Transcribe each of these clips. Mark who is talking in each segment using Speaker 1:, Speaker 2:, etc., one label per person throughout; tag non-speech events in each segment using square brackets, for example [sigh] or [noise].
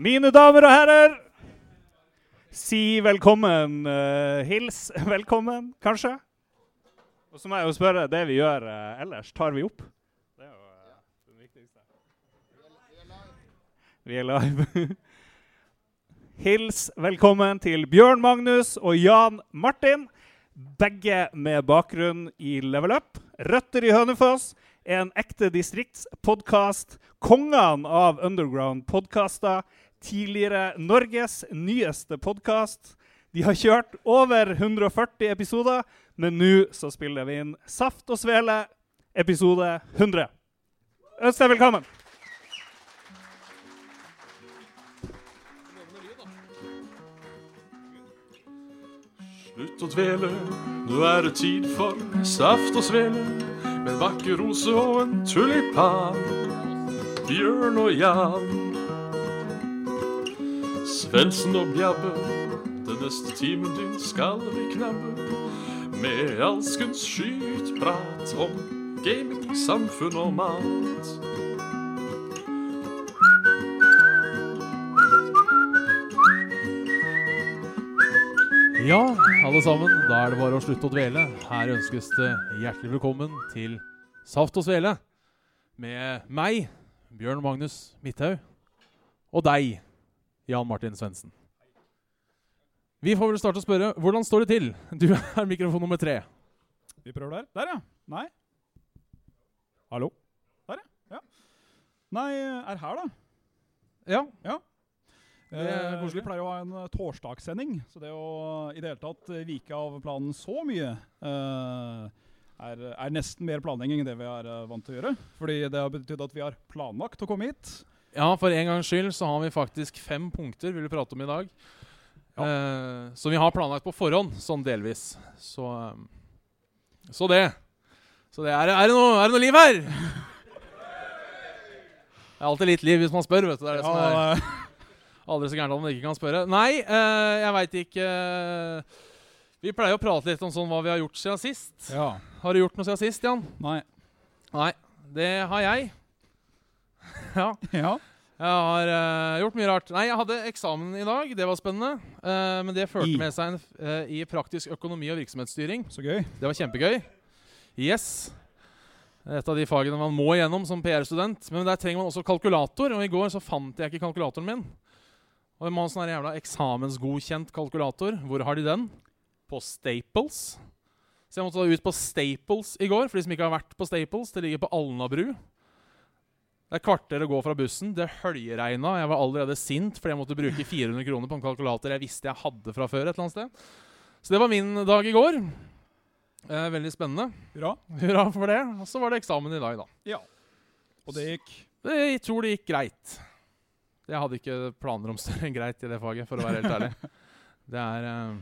Speaker 1: Mine damer og herrer, si velkommen. eh, hils [laughs] velkommen, kanskje. Og så må jeg jo spørre det vi gjør eh, ellers. Tar vi opp? Det er jo eh, det viktigste. Vi er live. [laughs] Hils velkommen til Bjørn Magnus og Jan Martin. Begge med bakgrunn i Level Up, Røtter i Hønefoss, en ekte distriktspodkast, kongene av underground-podkaster, tidligere Norges nyeste podkast. De har kjørt over 140 episoder, men nå så spiller vi inn Saft og Svele, episode 100. Ønsk deg velkommen.
Speaker 2: Slutt å dvele, nå er det tid for saft og svele. Med en vakker rose og en tulipan. Bjørn og Jan. Svendsen og Bjabbe, den neste timen din skal vi knabbe. Med alskens skytprat om gaming, samfunn og mat.
Speaker 3: Ja, alle sammen, da er det bare å slutte å dvele. Her ønskes det hjertelig velkommen til Saft og Svele. Med meg, Bjørn Magnus Midthaug, og deg, Jan Martin Svendsen. Vi får vel starte å spørre hvordan står det til? Du er mikrofon nummer tre.
Speaker 4: Vi prøver der. Der, ja. Nei. Hallo. Der, ja. ja. Nei, er her, da.
Speaker 3: Ja.
Speaker 4: Det
Speaker 3: er koselig.
Speaker 4: Vi pleier å ha en eh, torsdagssending, så det å i det hele tatt eh, vike av planen så mye eh, er, er nesten mer planlegging enn det vi er eh, vant til å gjøre. Fordi det har betydd at vi har planlagt å komme hit.
Speaker 3: ja, for en gangs skyld så har vi faktisk fem punkter vi vil prate om i dag.
Speaker 4: Ja.
Speaker 3: Eh, som vi har planlagt på forhånd, sånn delvis. Så, eh, så det. Så det er, er, det noe, er det noe liv her? Det er alltid litt liv hvis man spør, vet du. Det er det som er
Speaker 4: Ja, eh,
Speaker 3: Aldri så gærent om man ikke kan spørre. Nei, eh, jeg veit ikke eh, Vi pleier å prate litt om sånn hva vi har gjort siden sist.
Speaker 4: ja.
Speaker 3: Har du gjort noe siden sist, Jan?
Speaker 4: Nei.
Speaker 3: Nei, det har jeg. [laughs] Ja.
Speaker 4: Ja.
Speaker 3: Jeg har eh, gjort mye rart. Nei, jeg hadde eksamen i dag. Det var spennende. Eh, men det førte
Speaker 4: I?
Speaker 3: med seg en f- eh, i praktisk økonomi og virksomhetsstyring.
Speaker 4: Så gøy.
Speaker 3: Det var kjempegøy. Yes. Et av de fagene man må igjennom som PR-student. Men der trenger man også kalkulator, og i går så fant jeg ikke kalkulatoren min. Og jeg må ha en sånn her jævla eksamensgodkjent kalkulator. Hvor har de den? På Staples. Så jeg måtte da ut på Staples i går, for de som ikke har vært på Staples. Det ligger på Alnabru. Det er kvarter å gå fra bussen. Det høljeregna. Jeg var allerede sint fordi jeg måtte bruke 400 kroner på en kalkulator jeg visste jeg hadde fra før. et eller annet sted. Så det var min dag i går. Eh, veldig spennende. [laughs]
Speaker 4: Hurra.
Speaker 3: Hurra for det. Og så var det eksamen i dag, da.
Speaker 4: Ja. Og det gikk
Speaker 3: Det, jeg tror det gikk greit. Jeg hadde ikke planer om større enn greit i det faget, for å være helt ærlig. Det er eh,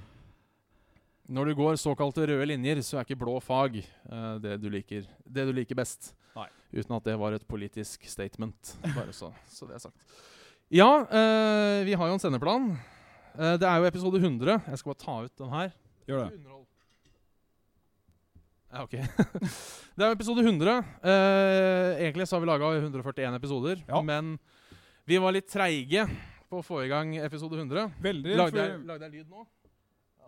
Speaker 3: Når du går såkalte røde linjer, så er ikke blå fag eh, det, du liker, det du liker best.
Speaker 4: Nei.
Speaker 3: Uten at det var et politisk statement, bare så, så det er sagt. Ja, eh, vi har jo en sendeplan. Eh, det er jo episode 100. Jeg skal bare ta ut den her.
Speaker 4: Gjør det.
Speaker 3: Underhold. Ja, ok. [laughs] det er jo episode 100. Eh, egentlig så har vi laga 141 episoder,
Speaker 4: Ja.
Speaker 3: men vi var litt treige på å få i gang episode 100.
Speaker 4: Veldig.
Speaker 3: Lagde jeg,
Speaker 4: for
Speaker 3: lagde jeg lyd nå?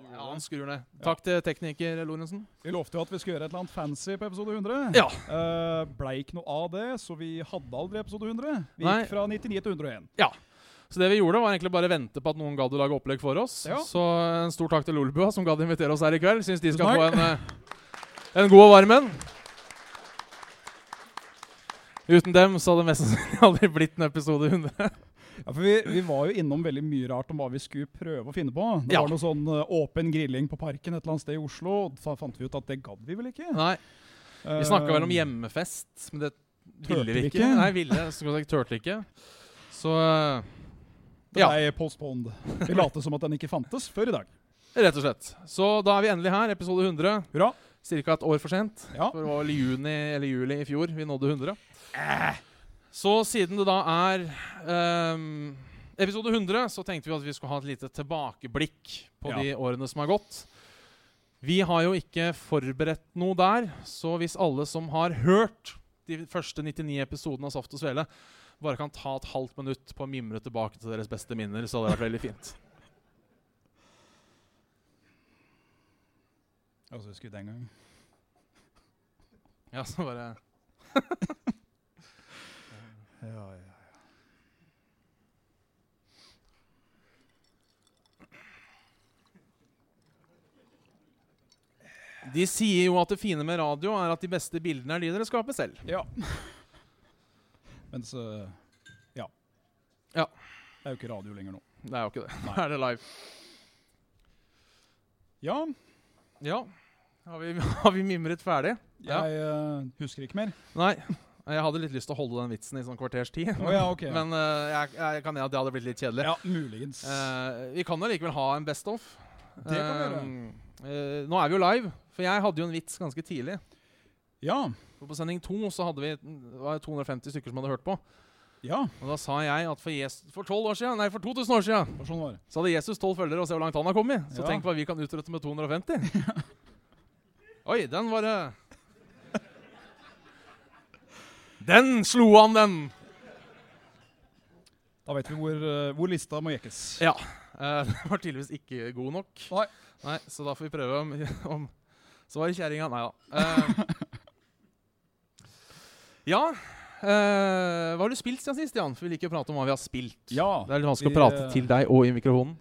Speaker 4: gjorde
Speaker 3: Ja,
Speaker 4: det.
Speaker 3: han skrur ned. Takk til tekniker Lorentzen.
Speaker 4: Vi lovte jo at vi skulle gjøre et eller annet fancy på episode 100.
Speaker 3: Ja.
Speaker 4: Eh, blei ikke noe av det, så vi hadde aldri episode 100. Vi
Speaker 3: Nei.
Speaker 4: gikk fra 99 til 101.
Speaker 3: Så det vi gjorde, var egentlig bare vente på at noen gadd å lage opplegg for oss.
Speaker 4: Ja.
Speaker 3: Så eh, en stor takk til Lolbua som gadd invitere oss her i kveld. Syns de skal
Speaker 4: Tusen
Speaker 3: få en, eh, en god og varm en. Uten dem så hadde det mest sannsynlig [laughs] aldri blitt en episode 100.
Speaker 4: Ja, for vi, vi var jo innom veldig mye rart om hva vi skulle prøve å finne på. Det
Speaker 3: Ja.
Speaker 4: var noe sånn eh, åpen grilling på parken et eller annet sted i Oslo. og Da fant vi ut at det gadd vi vel ikke. Eh,
Speaker 3: Nei, vi snakka vel om hjemmefest, men det ville vi
Speaker 4: vi
Speaker 3: ikke.
Speaker 4: ikke?
Speaker 3: Nei, ville, så kan jeg si, tørte ikke. Så
Speaker 4: Det
Speaker 3: ja.
Speaker 4: blei postponed. Vi late som at den ikke fantes før i dag.
Speaker 3: eh, rett og slett. Så da er vi endelig her, episode 100.
Speaker 4: Hurra.
Speaker 3: Cirka et år for sent.
Speaker 4: Ja.
Speaker 3: For det var vel i juni eller juli i fjor vi nådde 100.
Speaker 4: Eh.
Speaker 3: Så siden det da er ehm, episode 100, så tenkte vi at vi skulle ha et lite tilbakeblikk på
Speaker 4: Ja.
Speaker 3: de årene som har gått. Vi har jo ikke forberedt noe der, så hvis alle som har hørt de første 99 episodene av Saft og Svele, bare kan ta et halvt minutt på å mimre tilbake til deres beste minner, så hadde det vært veldig
Speaker 4: [laughs]
Speaker 3: fint.
Speaker 4: Jeg også husker den gangen.
Speaker 3: Ja, så bare...
Speaker 4: Ja, ja.
Speaker 3: De sier jo at det fine med radio er at de beste bildene er de dere skaper selv.
Speaker 4: ja. Mens eh, ja.
Speaker 3: Ja.
Speaker 4: Det er jo ikke radio lenger nå.
Speaker 3: Det er jo ikke det. Da
Speaker 4: Nei.
Speaker 3: er det live.
Speaker 4: Ja,
Speaker 3: Ja, har vi, [laughs] har vi mimret ferdig? Ja.
Speaker 4: jeg eh, husker ikke mer.
Speaker 3: Nei. Jeg hadde litt lyst til å holde den vitsen i sånn kvarters tid, [laughs]
Speaker 4: Å ja, ok.
Speaker 3: men eh, jeg, jeg kan ja, det hadde blitt litt kjedelig.
Speaker 4: ja, muligens.
Speaker 3: Eh, vi kan jo likevel ha en best of.
Speaker 4: Det kan vi gjøre.
Speaker 3: Eh, eh, nå er vi jo live, for jeg hadde jo en vits ganske tidlig.
Speaker 4: ja.
Speaker 3: For På sending to så hadde vi det var 250 stykker som hadde hørt på.
Speaker 4: Ja,
Speaker 3: Og da sa jeg at for, Jesus, for 12 år siden, nei, for 2000 år siden
Speaker 4: det var sånn det var.
Speaker 3: Så hadde Jesus tolv følgere, og se hvor langt han har kommet. Så
Speaker 4: Ja.
Speaker 3: tenk hva vi kan utrette med
Speaker 4: [laughs]
Speaker 3: 250. Oi, den var eh, Den slo han, den!
Speaker 4: Da vet vi hvor, eh, hvor lista må jekkes.
Speaker 3: Ja. eh, [laughs] den var tydeligvis ikke god nok.
Speaker 4: Nei.
Speaker 3: Nei, Så da får vi prøve om, [laughs] om Så var det kjerringa. Nei da.
Speaker 4: [laughs]
Speaker 3: Eh, ja. eh, hva har du spilt siden sist, Jan? For vi liker å prate om hva vi har spilt.
Speaker 4: Ja,
Speaker 3: Det er litt vanskelig å
Speaker 4: vi,
Speaker 3: prate
Speaker 4: eh,
Speaker 3: til deg og i mikrofonen.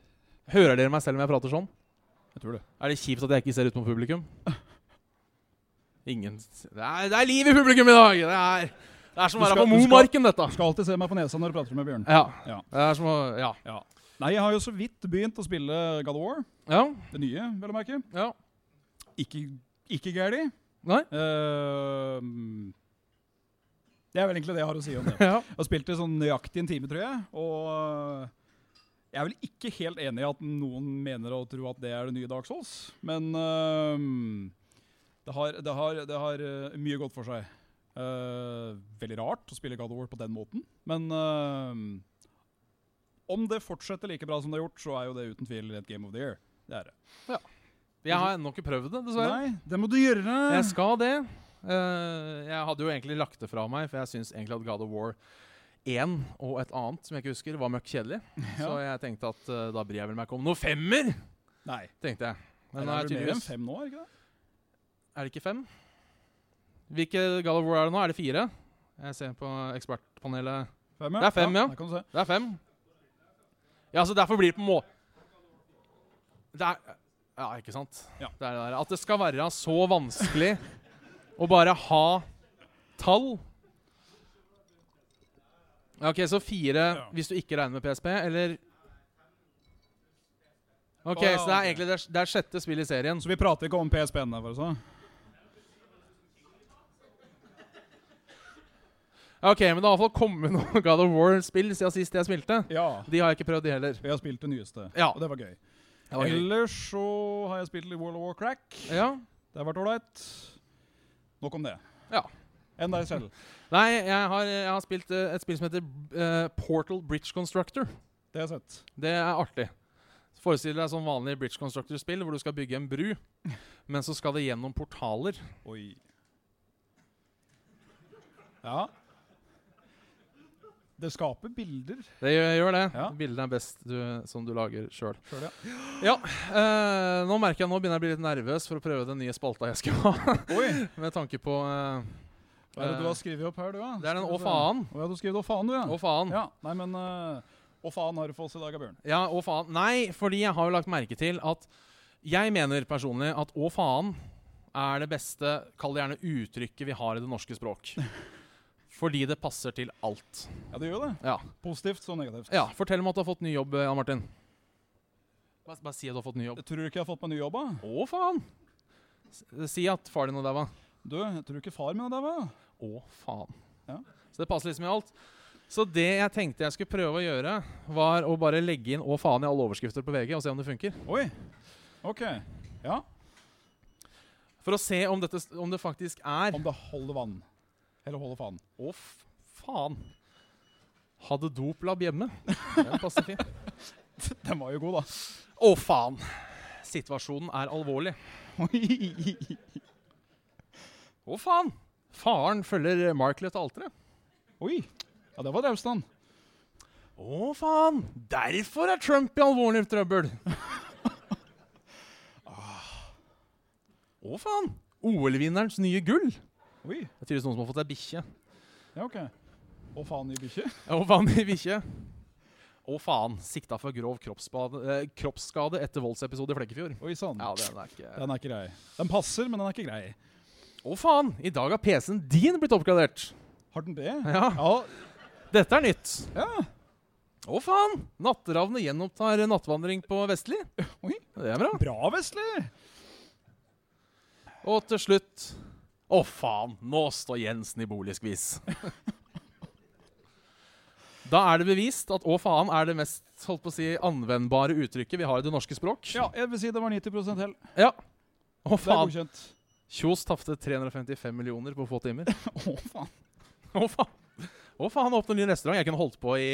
Speaker 3: Hører dere meg selv om jeg prater sånn?
Speaker 4: jeg tror det.
Speaker 3: Er det kjipt at jeg ikke ser ut mot publikum? Ingen s- det er, det er liv i publikum i dag! Det er, det er som å
Speaker 4: Du
Speaker 3: være
Speaker 4: skal-
Speaker 3: på
Speaker 4: du skal-
Speaker 3: Momarken, dette.
Speaker 4: Du skal alltid se meg på nesa når du prater med Bjørn.
Speaker 3: Ja.
Speaker 4: Ja.
Speaker 3: Det er som å Ja.
Speaker 4: Ja. Nei, jeg har jo så vidt begynt å spille God of War.
Speaker 3: Ja.
Speaker 4: Det nye, vel å merke.
Speaker 3: ja.
Speaker 4: Ikke, ikke gæli.
Speaker 3: Nei.
Speaker 4: Eh, det er vel egentlig det jeg har å si om det.
Speaker 3: Ja.
Speaker 4: Jeg har spilt det sånn nøyaktig en time, tror jeg. Og jeg er vel ikke helt enig i at noen mener å tro at det er det nye Dark Souls. Men øhm, det, har, det, har, det har øh, mye godt for seg. Øh, veldig rart å spille God of War på den måten, men øhm, om det fortsetter like bra som det har gjort, så er jo det uten tvil et Game of the Year. Det er det.
Speaker 3: Jeg har ennå ikke prøvd det, dessverre.
Speaker 4: Nei, det må du gjøre!
Speaker 3: Jeg skal det. Eh, jeg hadde jo egentlig lagt det fra meg, for jeg syns egentlig at God of War 1 og et annet som jeg ikke husker, var møkk kjedelig. Så jeg tenkte at eh, da bryr jeg vel meg ikke om noe femmer!
Speaker 4: Nei.
Speaker 3: tenkte jeg. Men nå er
Speaker 4: det er vel mer
Speaker 3: tydeligvis
Speaker 4: enn fem nå, er det ikke det?
Speaker 3: Er det ikke fem? Hvilke God of War er det nå? Er det fire? Jeg ser på ekspertpanelet.
Speaker 4: Fem, ja.
Speaker 3: Det er fem, ja.
Speaker 4: Der kan du se.
Speaker 3: Det er fem. Ja, så derfor blir det på må... Det er Ja, ikke sant?
Speaker 4: Ja.
Speaker 3: Det er det der. At det skal være så vanskelig å bare ha tall. Ja, OK, så fire
Speaker 4: Ja.
Speaker 3: hvis du ikke regner med PSP, eller OK,
Speaker 4: Å, ja,
Speaker 3: så det er
Speaker 4: ok.
Speaker 3: egentlig det, er- det er sjette spill i serien.
Speaker 4: Så vi prater ikke om PSP-en der, for å si det.
Speaker 3: Ja, OK, men det har iallfall kommet noen [laughs] God of War-spill siden sist jeg spilte.
Speaker 4: Ja.
Speaker 3: De har jeg ikke prøvd, de heller.
Speaker 4: Jeg har spilt det nyeste,
Speaker 3: Ja.
Speaker 4: og det var gøy.
Speaker 3: Eller-
Speaker 4: Ellers så har jeg spilt litt World of Warcrack.
Speaker 3: Ja.
Speaker 4: Det har vært ålreit. Nok om det.
Speaker 3: Ja.
Speaker 4: Enn deg selv.
Speaker 3: Nei, jeg har, jeg har spilt eh, et spill som heter eh, Portal Bridge Constructor.
Speaker 4: Det har jeg sett.
Speaker 3: Det er artig. Forestill deg sånn vanlig Bridge Constructor-spill hvor du skal bygge en
Speaker 4: [laughs]
Speaker 3: bru, men så skal det gjennom portaler.
Speaker 4: Oi. Ja. Det skaper bilder.
Speaker 3: Det gjør, gjør det.
Speaker 4: Ja.
Speaker 3: Bildene er best du, som du lager sjøl.
Speaker 4: Sjøl, ja.
Speaker 3: Ja, eh, nå merker jeg nå begynner jeg å bli litt nervøs for å prøve den nye spalta jeg skal ha. [laughs]
Speaker 4: Oi!
Speaker 3: Med tanke på eh,
Speaker 4: Hva er det du har skrevet opp her, du, da?
Speaker 3: Det er den Å
Speaker 4: Skal vi se.
Speaker 3: faen.
Speaker 4: Å ja, du har skrevet Å faen, du, ja.
Speaker 3: Å, faen.
Speaker 4: ja. Nei, men eh, Å faen har du for oss i dag, ja, Bjørn.
Speaker 3: Ja, å faen. Nei, fordi jeg har jo lagt merke til at jeg mener personlig at å faen er det beste, kall det gjerne uttrykket vi har i det norske språk. Fordi det passer til alt.
Speaker 4: Ja, det gjør jo det.
Speaker 3: Ja.
Speaker 4: Positivt som negativt.
Speaker 3: ja fortell meg at du har fått ny jobb, eh, Jan Martin. Bare, bare si at du har fått ny jobb.
Speaker 4: Jeg tror ikke jeg har fått meg ny jobb, da.
Speaker 3: Å faen! S- eh, Si at far din og dæva.
Speaker 4: Du, jeg tror ikke far min er der, hva?
Speaker 3: Å faen.
Speaker 4: Ja.
Speaker 3: Så det passer liksom i alt. Så det jeg tenkte jeg skulle prøve å gjøre, var å bare legge inn å faen i alle overskrifter på VG og se om det funker.
Speaker 4: Oi. OK. Ja.
Speaker 3: For å se om, dette, om det faktisk er
Speaker 4: Om det holder vann. Eller holder faen. [laughs]
Speaker 3: Å, f- faen. Hadde doplab hjemme. [laughs] Den passer fint.
Speaker 4: Den var jo god, da.
Speaker 3: Å, faen. Situasjonen er alvorlig. Å, faen. Faren følger Markle til alteret.
Speaker 4: Oi. Ja, det var Draugstad.
Speaker 3: Å, faen! Derfor er Trump i alvorlig [laughs] trøbbel! Ah. Å, faen! OL-vinnerens nye gull. Det
Speaker 4: Oi.
Speaker 3: er tydeligvis noen som har fått seg bikkje.
Speaker 4: Ja, OK. Å faen i bikkje.
Speaker 3: Å, faen, i bikkje. Å, faen. Sikta for grov kroppsskade, eh, kroppsskade etter voldsepisode i Flekkefjord.
Speaker 4: Oi sann.
Speaker 3: Ja, den er ikke
Speaker 4: Den er ikke grei. Den passer, men den er ikke grei.
Speaker 3: Å, faen! I dag har PC-en din blitt oppgradert.
Speaker 4: Har den det?
Speaker 3: Ja,
Speaker 4: Ja.
Speaker 3: dette er nytt.
Speaker 4: ja.
Speaker 3: Å, faen! Natteravnet gjenopptar nattvandring på Vestli.
Speaker 4: Oi.
Speaker 3: Det er bra.
Speaker 4: Bra, Vestli!
Speaker 3: Og til slutt Å, faen! Nå står Jensen i boligskvis. [laughs] da er det bevist at 'å, faen' er det mest holdt på å si, anvendbare uttrykket vi har i det norske språk.
Speaker 4: Ja, jeg vil si det var 90 hell.
Speaker 3: Ja. Å,
Speaker 4: Det er
Speaker 3: faen.
Speaker 4: godkjent.
Speaker 3: Kjos tapte 355 millioner på få
Speaker 4: [laughs]
Speaker 3: timer.
Speaker 4: Å, faen.
Speaker 3: Å, faen! Å, faen, åpne ny restaurant. Jeg kunne holdt på i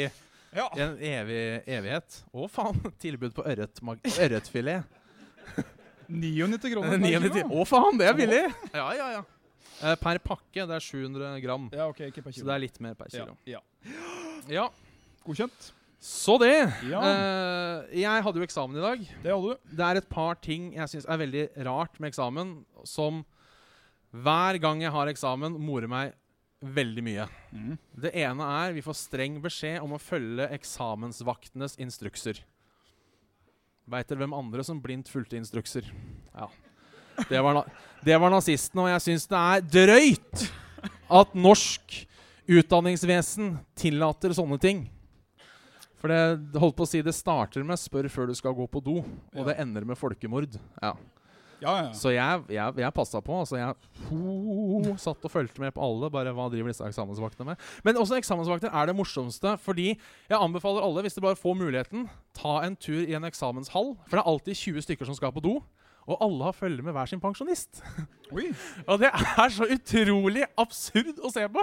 Speaker 4: Ja.
Speaker 3: en evig evighet. Å, faen! [laughs] Tilbud på [laughs] ørretmag- ørretfilet.
Speaker 4: 99
Speaker 3: [laughs]
Speaker 4: kroner. per kilo.
Speaker 3: 99. Å, faen, det er billig! Ja, ja, ja. Eh, Per pakke, det er 700 gram.
Speaker 4: Ja, OK, ikke per
Speaker 3: Så
Speaker 4: kilo.
Speaker 3: det er litt mer per kilo.
Speaker 4: Ja. ja.
Speaker 3: Ja,
Speaker 4: Godkjent.
Speaker 3: så det.
Speaker 4: Ja.
Speaker 3: Eh, jeg hadde jo eksamen i dag.
Speaker 4: Det hadde du.
Speaker 3: Det er et par ting jeg syns er veldig rart med eksamen, som hver gang jeg har eksamen, morer meg veldig mye.
Speaker 4: Mhm.
Speaker 3: Det ene er vi får streng beskjed om å følge eksamensvaktenes instrukser. Veit dere hvem andre som blindt fulgte instrukser? Ja. Det var, na det var nazistene, og jeg syns det er drøyt at norsk utdanningsvesen tillater sånne ting. For det holdt på å si det starter med 'spør før du skal gå på do', og det ender med folkemord. Ja.
Speaker 4: Ja, ja. ja.
Speaker 3: Så jeg, jeg, jeg passa på. Altså jeg ho, satt og fulgte med på alle. Bare hva driver disse eksamensvaktene med? Men også eksamensvakter er det morsomste, fordi jeg anbefaler alle, hvis de bare får muligheten, ta en tur i en eksamenshall. For det er alltid 20 stykker som skal på do. Og alle har følge med hver sin pensjonist.
Speaker 4: Oi.
Speaker 3: Og det er så utrolig absurd å se på.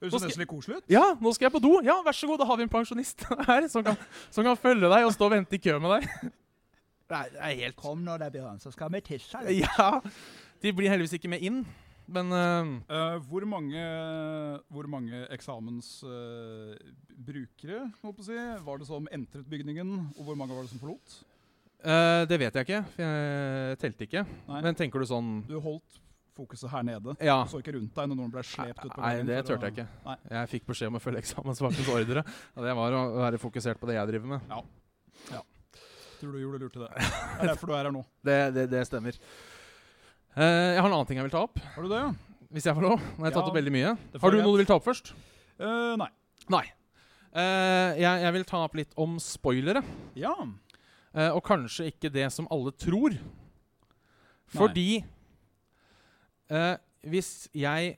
Speaker 4: Høres nesten litt koselig ut.
Speaker 3: Ja, nå skal jeg på do. Ja, vær så god, da har vi en pensjonist [laughs] her som kan, som kan følge deg og stå og vente i kø med deg. Det er, det er helt
Speaker 5: Kom nå da, Bjørn, så skal vi tisse. litt.
Speaker 3: Ja. De blir heldigvis ikke med inn, men eh,
Speaker 4: Eh, hvor mange, hvor mange eksamensbrukere holdt på å si, var det som entret bygningen, og hvor mange var det som forlot?
Speaker 3: eh, det vet jeg ikke. For jeg telte ikke.
Speaker 4: Nei.
Speaker 3: Men tenker du sånn
Speaker 4: Du holdt fokuset her nede.
Speaker 3: Ja.
Speaker 4: Du så ikke rundt deg når noen ble slept ut på
Speaker 3: Nei, det
Speaker 4: for å-
Speaker 3: turte jeg ikke.
Speaker 4: Nei.
Speaker 3: Jeg fikk beskjed om å følge eksamensvaktens ordre. Og det var å være fokusert på det jeg driver med.
Speaker 4: Tror du gjorde lurt i det. Det er derfor du er her nå.
Speaker 3: Det, det, det stemmer. Eh, jeg har en annen ting jeg vil ta opp,
Speaker 4: Har du det, ja?
Speaker 3: hvis jeg får lov. Nå har jeg
Speaker 4: Ja,
Speaker 3: tatt opp veldig mye.
Speaker 4: det får
Speaker 3: Har du
Speaker 4: jeg.
Speaker 3: noe du vil ta opp først?
Speaker 4: Eh, nei.
Speaker 3: Nei. Eh, jeg, jeg vil ta opp litt om spoilere.
Speaker 4: Ja.
Speaker 3: Eh, og kanskje ikke det som alle tror. Fordi eh, hvis jeg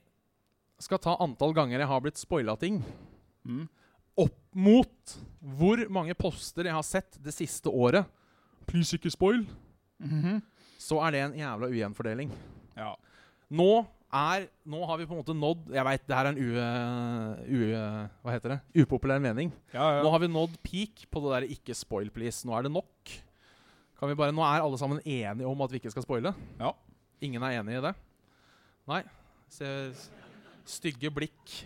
Speaker 3: skal ta antall ganger jeg har blitt spoila ting,
Speaker 4: Mm.
Speaker 3: opp mot hvor mange poster jeg har sett det siste året Please ikke spoil.
Speaker 4: Mhm.
Speaker 3: Så er det en jævla ujevnfordeling.
Speaker 4: ja.
Speaker 3: Nå er Nå har vi på en måte nådd Jeg veit det her er en u... u hva heter det? Upopulær mening.
Speaker 4: Ja, ja.
Speaker 3: Nå har vi nådd peak på det der 'ikke spoil, please'. Nå er det nok. Kan vi bare, nå er alle sammen enige om at vi ikke skal spoile.
Speaker 4: Ja.
Speaker 3: Ingen er enig i det? Nei. Ser stygge blikk.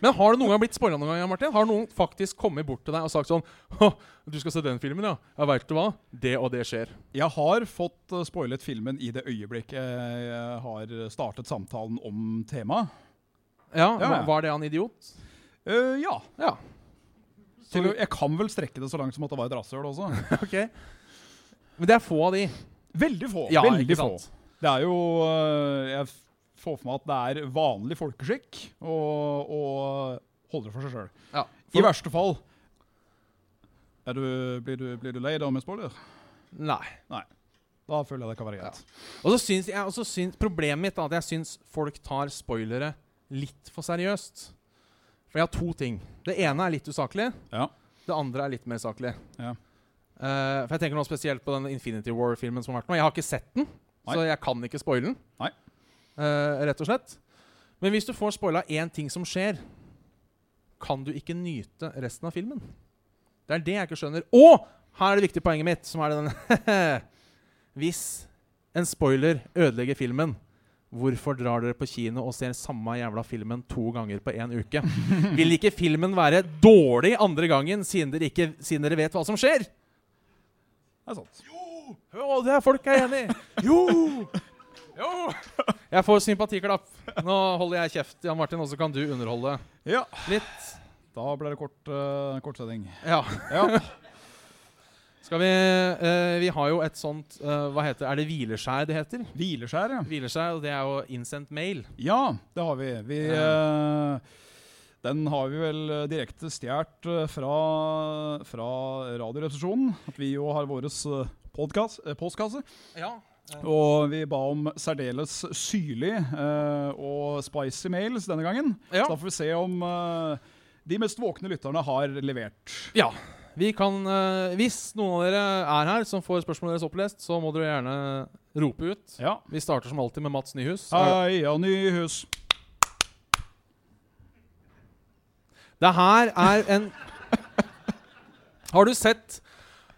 Speaker 3: Men har du noen gang blitt spoila noen gang, Martin? Har noen faktisk kommet bort til deg og sagt sånn «Hå, 'Du skal se den filmen, ja? Ja, veit du hva? Det og det skjer.'
Speaker 4: Jeg har fått eh, spoilet filmen i det øyeblikket jeg har startet samtalen om temaet.
Speaker 3: Ja,
Speaker 4: Ja, ja.
Speaker 3: Var det han idiot?
Speaker 4: Eh, ja.
Speaker 3: Ja.
Speaker 4: Til, jeg kan vel strekke det så langt som at det var et rasshøl også.
Speaker 3: [laughs] Ok. Men det er få av de.
Speaker 4: Veldig få.
Speaker 3: Ja,
Speaker 4: veldig
Speaker 3: ikke
Speaker 4: få.
Speaker 3: sant?
Speaker 4: Det er jo eh, Jeg f- får for meg at det er vanlig folkeskikk å å holde det for seg sjøl.
Speaker 3: Ja.
Speaker 4: I verste fall er du, blir, du, blir du lei da med spoiler?
Speaker 3: Nei.
Speaker 4: Da føler jeg det kan være greit.
Speaker 3: Og så syns jeg og så syns, Problemet mitt er at jeg syns folk tar spoilere litt for seriøst. For jeg har to ting. Det ene er litt usaklig.
Speaker 4: Ja.
Speaker 3: Det andre er litt mer saklig.
Speaker 4: Ja.
Speaker 3: Eh, for jeg tenker nå spesielt på den Infinity War-filmen som har vært nå. Jeg har ikke sett den, så
Speaker 4: Nei.
Speaker 3: jeg kan ikke spoile den.
Speaker 4: Nei.
Speaker 3: Eh, rett og slett. Men hvis du får spoila én ting som skjer, kan du ikke nyte resten av filmen. Det er det jeg ikke skjønner. Og her er det viktige poenget [laughs] mitt, som er den Hvis en spoiler ødelegger filmen, Hvorfor drar dere på kino og ser samme jævla filmen to ganger på én uke? Vil ikke filmen være dårlig andre gangen, siden dere, ikke, siden dere vet hva som skjer?
Speaker 4: Det er sant.
Speaker 3: Jo, det er folk er enig i! Jo! Jo! Jeg får sympatiklapp. Nå holder jeg kjeft, Jan Martin, og så kan du underholde
Speaker 4: Ja,
Speaker 3: litt.
Speaker 4: da ble det kort, eh, kortsending.
Speaker 3: Ja.
Speaker 4: Ja.
Speaker 3: Skal vi eh, Vi har jo et sånt eh, Hva heter Er det hvileskjær det heter?
Speaker 4: Hvileskjær, ja.
Speaker 3: Hvileskjær, og det er jo innsendt mail.
Speaker 4: Ja, det har vi. vi eh, den har vi vel eh, direkte stjålet fra, fra Radioresepsjonen. At vi jo har vår eh, postkasse.
Speaker 3: Ja.
Speaker 4: Og vi ba om særdeles syrlig eh, og spicy mails denne gangen.
Speaker 3: Ja.
Speaker 4: Så da får vi se om eh, de mest våkne lytterne har levert.
Speaker 3: Vi kan, eh, hvis noen av dere er her som får spørsmålet deres opplest, så må dere gjerne rope ut.
Speaker 4: Ja.
Speaker 3: Vi starter som alltid med Mats Nyhus.
Speaker 4: Heia Nyhus.
Speaker 3: Det her er en Har du sett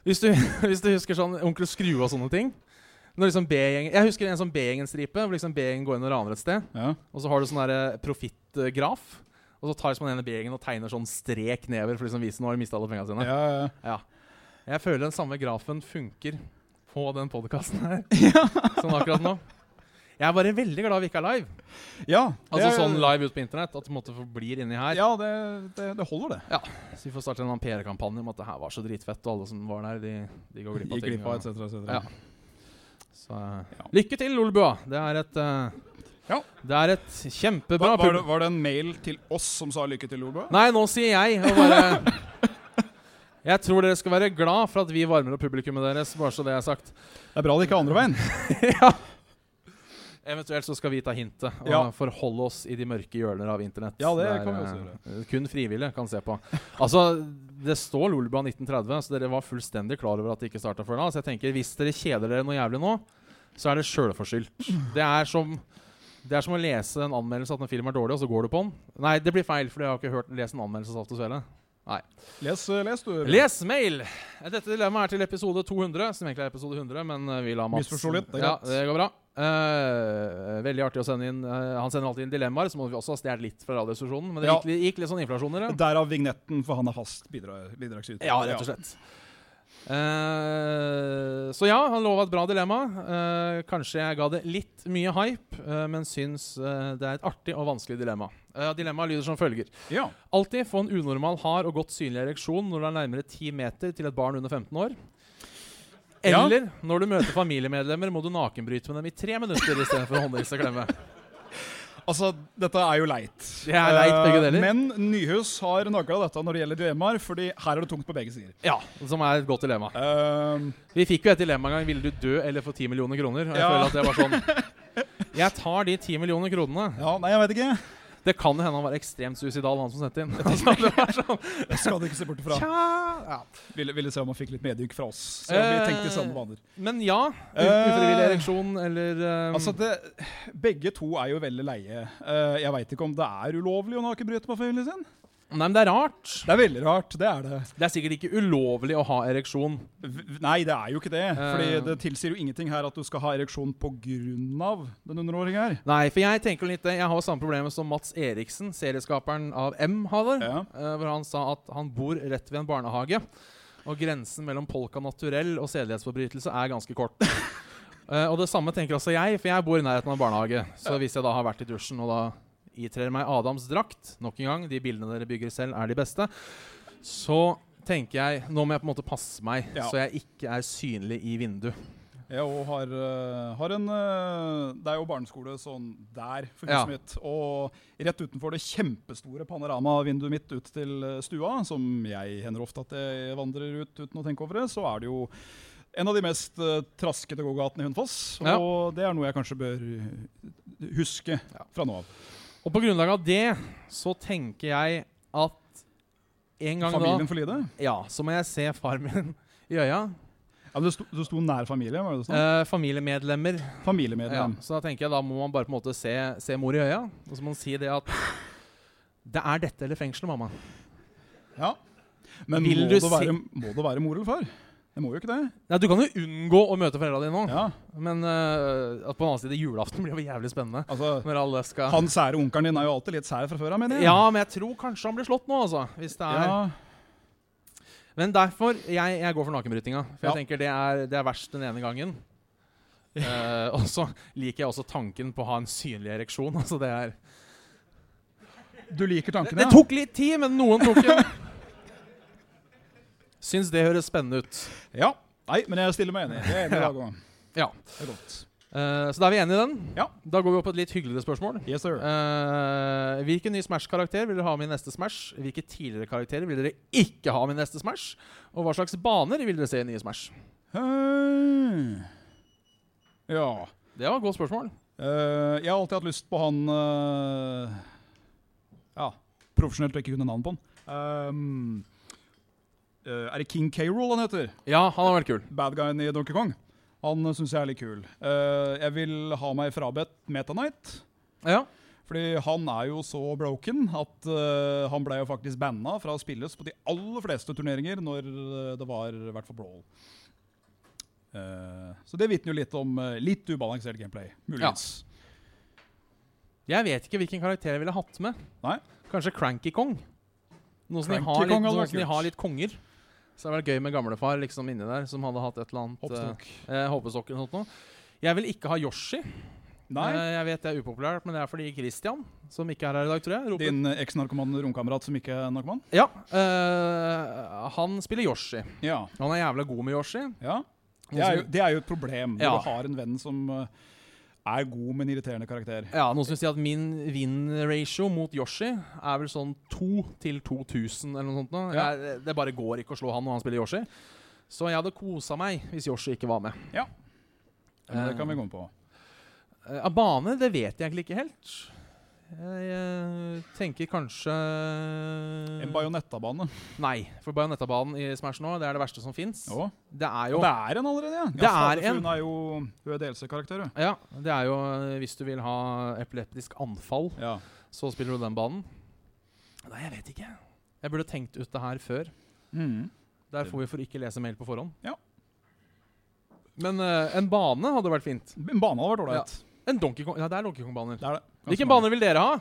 Speaker 3: Hvis du, [laughs] hvis du husker sånn Onkel Skrue og sånne ting når liksom B-gjengen- Jeg husker en sånn B-gjengen-stripe. hvor liksom B-gjengen går inn og raner et sted.
Speaker 4: Ja.
Speaker 3: Og så har du sånn der, eh, profittgraf. Og så tar liksom den ene B-gjengen og tegner sånn strek nedover for liksom å vise nå har de mista alle pengene sine.
Speaker 4: Ja, ja.
Speaker 3: Jeg føler den samme grafen funker på den podkasten her
Speaker 4: [laughs]
Speaker 3: som akkurat nå. Jeg er bare veldig glad vi ikke er live.
Speaker 4: ja
Speaker 3: Altså sånn live ut på internett. At det måtte forblir inni her.
Speaker 4: Ja, det, det, det holder, det.
Speaker 3: Så vi får starte en annen PR-kampanje om at det her var så dritfett, og alle som var der, de, de går glipp av
Speaker 4: Gikk
Speaker 3: ting.
Speaker 4: glipp av
Speaker 3: og-
Speaker 4: et cetera, et
Speaker 3: Ja.
Speaker 4: cetera.
Speaker 3: Så, eh,
Speaker 4: Ja.
Speaker 3: Lykke til, Olbua! Det er et eh,
Speaker 4: Ja.
Speaker 3: Det er et kjempebra
Speaker 4: Var, var, det,
Speaker 3: pub.
Speaker 4: var det en mail til oss som sa lykke til, Olbø?
Speaker 3: Nei, nå sier jeg og bare [laughs] Jeg tror dere skal være glad for at vi varmer opp publikummet deres, bare så det er sagt.
Speaker 4: Det er bra det ikke er andre veien.
Speaker 3: Eventuelt så skal vi ta hintet og
Speaker 4: Ja.
Speaker 3: forholde oss i de mørke hjørner av internett.
Speaker 4: Ja, det
Speaker 3: Der,
Speaker 4: kan vi
Speaker 3: eh,
Speaker 4: også gjøre.
Speaker 3: Kun frivillige kan se på. Altså, det står Lolbua 1930, så dere var fullstendig klar over at det ikke starta før da. Så jeg tenker, hvis dere kjeder dere noe jævlig nå, så er det sjølforskyldt. Det er som det er som å lese en anmeldelse at en film er dårlig, og så går du på den. Nei, det blir feil, for jeg har ikke hørt lest en anmeldelse av Saft og Svele.
Speaker 4: Les, eh, les du.
Speaker 3: Les mail! Dette dilemmaet er til episode 200, som egentlig er episode 100, men eh, vi lar Mats
Speaker 4: Misforstå litt, det er
Speaker 3: Ja,
Speaker 4: greit.
Speaker 3: det går bra. Eh, veldig artig å sende inn. eh, han sender alltid inn dilemmaer, så må vi også ha stjålet litt fra Radioresepsjonen. Men det
Speaker 4: Ja.
Speaker 3: gikk, li- gikk litt sånn inflasjoner, ja.
Speaker 4: Derav vignetten, for han er fast bidra- bidragsyter.
Speaker 3: Ja, rett og slett. Eh, så ja, han lova et bra dilemma. Eh, kanskje jeg ga det litt mye hype, eh, men syns eh, det er et artig og vanskelig dilemma. Uh, Dilemmaet lyder som følger.
Speaker 4: Ja.
Speaker 3: Alltid få en unormal hard og godt synlig ereksjon når du er nærmere 10 meter til et barn under 15 år.
Speaker 4: Ja.
Speaker 3: Eller når du møter familiemedlemmer, må du nakenbryte med dem i tre minutter istedenfor håndhilse og klemme.
Speaker 4: Altså, dette er jo leit.
Speaker 3: Det er leit,
Speaker 4: Eh,
Speaker 3: begge deler.
Speaker 4: Men Nyhus har nagla dette når det gjelder dilemmaer, fordi her er det tungt på begge sider.
Speaker 3: Ja, Som er et godt dilemma.
Speaker 4: Eh,
Speaker 3: Vi fikk jo et dilemma en gang. Ville du dø eller få 10 millioner kroner? Og jeg
Speaker 4: Ja.
Speaker 3: føler at det var sånn Jeg tar de 10 millioner kronene.
Speaker 4: ja, nei, jeg
Speaker 3: [laughs]
Speaker 4: vet ikke.
Speaker 3: Det kan jo hende han var ekstremt suicidal, han som sendte inn. [laughs] Altså, det var sånn
Speaker 4: Jeg skal ikke se bort ifra.
Speaker 3: tja. Ja.
Speaker 4: Ville, ville se om han fikk litt medynk fra oss. Se om vi
Speaker 3: Eh,
Speaker 4: tenkte i samme baner.
Speaker 3: Men ja. u-
Speaker 4: Eh.
Speaker 3: Ufrivillig ereksjon eller um,
Speaker 4: Altså, det, Begge to er jo veldig leie. Eh, jeg veit ikke om det er ulovlig å nakenbryte med familien sin.
Speaker 3: Nei, men det er rart.
Speaker 4: Det er veldig rart. det er det.
Speaker 3: Det er sikkert ikke ulovlig å ha ereksjon.
Speaker 4: V- Nei, det er jo ikke det. Fordi
Speaker 3: Eh.
Speaker 4: det tilsier jo ingenting her at du skal ha ereksjon på grunn av den underåringen her.
Speaker 3: Nei, for jeg tenker litt det. Jeg har jo samme problemet som Mats Eriksen, serieskaperen av M, hadde.
Speaker 4: Ja.
Speaker 3: eh, Hvor han sa at han bor rett ved en barnehage. Og grensen mellom polka naturell og sedelighetsforbrytelse er ganske
Speaker 4: [laughs]
Speaker 3: kort. Eh, og det samme tenker også jeg, for jeg bor i nærheten av en barnehage. Så hvis jeg da har vært i dusjen og da itrer meg Adams drakt Nok en gang, de bildene dere bygger selv, er de beste. Så tenker jeg Nå må jeg på en måte passe meg,
Speaker 4: Ja.
Speaker 3: så jeg ikke er synlig i vinduet.
Speaker 4: Jeg òg har, eh, har en eh, Det er jo barneskole sånn der for huset
Speaker 3: Ja.
Speaker 4: mitt. Og rett utenfor det kjempestore panoramavinduet mitt ut til eh, stua, som jeg hender ofte at jeg vandrer ut uten å tenke over det, så er det jo en av de mest eh, traskete gågatene i Hundfoss.
Speaker 3: Ja.
Speaker 4: Og det er noe jeg kanskje bør eh, huske
Speaker 3: Ja.
Speaker 4: fra nå av.
Speaker 3: Og på grunnlag av det så tenker jeg at en gang
Speaker 4: Familien for lite?
Speaker 3: da Ja, så må jeg se far min i øya.
Speaker 4: Ja, men du, sto, du sto nær familie? var det det sånn?
Speaker 3: Eh, familiemedlemmer. Ja,
Speaker 4: Familiemedlem.
Speaker 3: så da tenker jeg da må man bare på en måte se, se mor i øya, og så må man si det at det er dette eller fengselet, mamma.
Speaker 4: Ja. Men
Speaker 3: Vil
Speaker 4: må
Speaker 3: du
Speaker 4: det,
Speaker 3: si-
Speaker 4: være, må det være mor eller far? Jeg må jo ikke det.
Speaker 3: Nei, du kan jo unngå å møte foreldra dine nå,
Speaker 4: Ja,
Speaker 3: men eh, at på den annen side julaften blir jo jævlig spennende.
Speaker 4: altså,
Speaker 3: Når alle skal
Speaker 4: Han sære onkelen din er jo alltid litt sær fra før av, mener jeg.
Speaker 3: Ja, men jeg tror kanskje han blir slått nå, altså. Hvis det er
Speaker 4: Ja,
Speaker 3: Men derfor jeg, jeg går for nakenbrytinga. For
Speaker 4: Ja.
Speaker 3: jeg tenker det er, det er verst den ene [laughs] gangen. Eh, og så liker jeg også tanken på å ha en synlig ereksjon. Altså det er
Speaker 4: du liker
Speaker 3: Det,
Speaker 4: tankene?
Speaker 3: det tok litt tid, men noen tok den. [laughs] Syns det høres spennende ut.
Speaker 4: Ja. Nei, men jeg stiller meg enig. Det er enig i dag også.
Speaker 3: Ja.
Speaker 4: Det er godt.
Speaker 3: Eh, så da er vi enige i den.
Speaker 4: Ja.
Speaker 3: Da går vi opp på et litt hyggeligere spørsmål.
Speaker 4: Yes, sir.
Speaker 3: Eh, hvilken ny Smash-karakter vil dere ha med i neste Smash? Hvilke tidligere karakterer vil dere ikke ha med i neste Smash? Og hva slags baner vil dere se i nye Smash?
Speaker 4: Hei. Ja.
Speaker 3: Det var et godt spørsmål.
Speaker 4: Eh, jeg har alltid hatt lyst på han eh, Ja, profesjonelt og ikke kunne navn på han. Ehm, eh, er det King K. Rool han heter?
Speaker 3: Ja, han har vært kul.
Speaker 4: Bad guyen i Donkey Kong. Han syns jeg er litt kul. Eh, jeg vil ha meg frabedt Metanite.
Speaker 3: Ja.
Speaker 4: Fordi han er jo så broken at eh, han ble jo faktisk banna fra å spilles på de aller fleste turneringer når eh, det var i hvert fall Brawl. Eh, så det vitner jo litt om eh, litt ubalansert gameplay, muligens.
Speaker 3: Jeg vet ikke hvilken karakter jeg ville hatt med.
Speaker 4: Nei.
Speaker 3: Kanskje Cranky Kong? Noe som de
Speaker 4: Cranky
Speaker 3: har litt,
Speaker 4: Kong hadde
Speaker 3: noe
Speaker 4: vært
Speaker 3: som de
Speaker 4: kult.
Speaker 3: har litt konger. Så det hadde vært gøy med gamlefar liksom inni der, som hadde hatt et eller annet
Speaker 4: Hoppstokk.
Speaker 3: eh, eh, hoppestokk eller noe sånt. noe. Jeg vil ikke ha Yoshi.
Speaker 4: Nei,
Speaker 3: Eh, jeg vet det er upopulært, men det er fordi Christian, som ikke er her i dag, tror jeg, roper
Speaker 4: din eh, eksnarkoman romkamerat som ikke er narkoman?
Speaker 3: Ja. eh, han spiller Yoshi.
Speaker 4: Ja.
Speaker 3: Han er jævla god med Yoshi.
Speaker 4: ja.
Speaker 3: Noen
Speaker 4: Det, er jo,
Speaker 3: som-
Speaker 4: det er jo et problem
Speaker 3: Altså-
Speaker 4: når
Speaker 3: Ja.
Speaker 4: du har en venn som eh, er god, men irriterende karakter.
Speaker 3: Ja, Noen som sier at min win-ratio mot Yoshi er vel sånn 2 til 2000 eller noe sånt. nå.
Speaker 4: Ja.
Speaker 3: Jeg, det bare går ikke å slå han når han spiller Yoshi. Så jeg hadde kosa meg hvis Yoshi ikke var med.
Speaker 4: Men det kan vi komme på.
Speaker 3: Eh, Av bane, det vet jeg egentlig ikke helt. Jeg eh, tenker kanskje Eh.
Speaker 4: En bajonettabane.
Speaker 3: Nei, for bajonettabanen i Smash nå, det er det verste som fins.
Speaker 4: Ja.
Speaker 3: Det er jo
Speaker 4: Det er en allerede, ja.
Speaker 3: Det
Speaker 4: fader,
Speaker 3: er
Speaker 4: for
Speaker 3: en.
Speaker 4: Hun er jo hun er DLC-karakter, hun.
Speaker 3: ja, det er jo eh, hvis du vil ha epileptisk anfall,
Speaker 4: Ja.
Speaker 3: så spiller du den banen. Nei, jeg vet ikke. Jeg burde tenkt ut det her før.
Speaker 4: Mm.
Speaker 3: Der får vi for ikke lese mail på forhånd.
Speaker 4: Ja.
Speaker 3: Men eh, en bane hadde vært fint.
Speaker 4: En bane hadde vært ålreit.
Speaker 3: En Donkey Kong Ja, det er Donkey Kong-baner.
Speaker 4: Det er det. Ganske
Speaker 3: Hvilken
Speaker 4: mange.
Speaker 3: bane vil dere ha?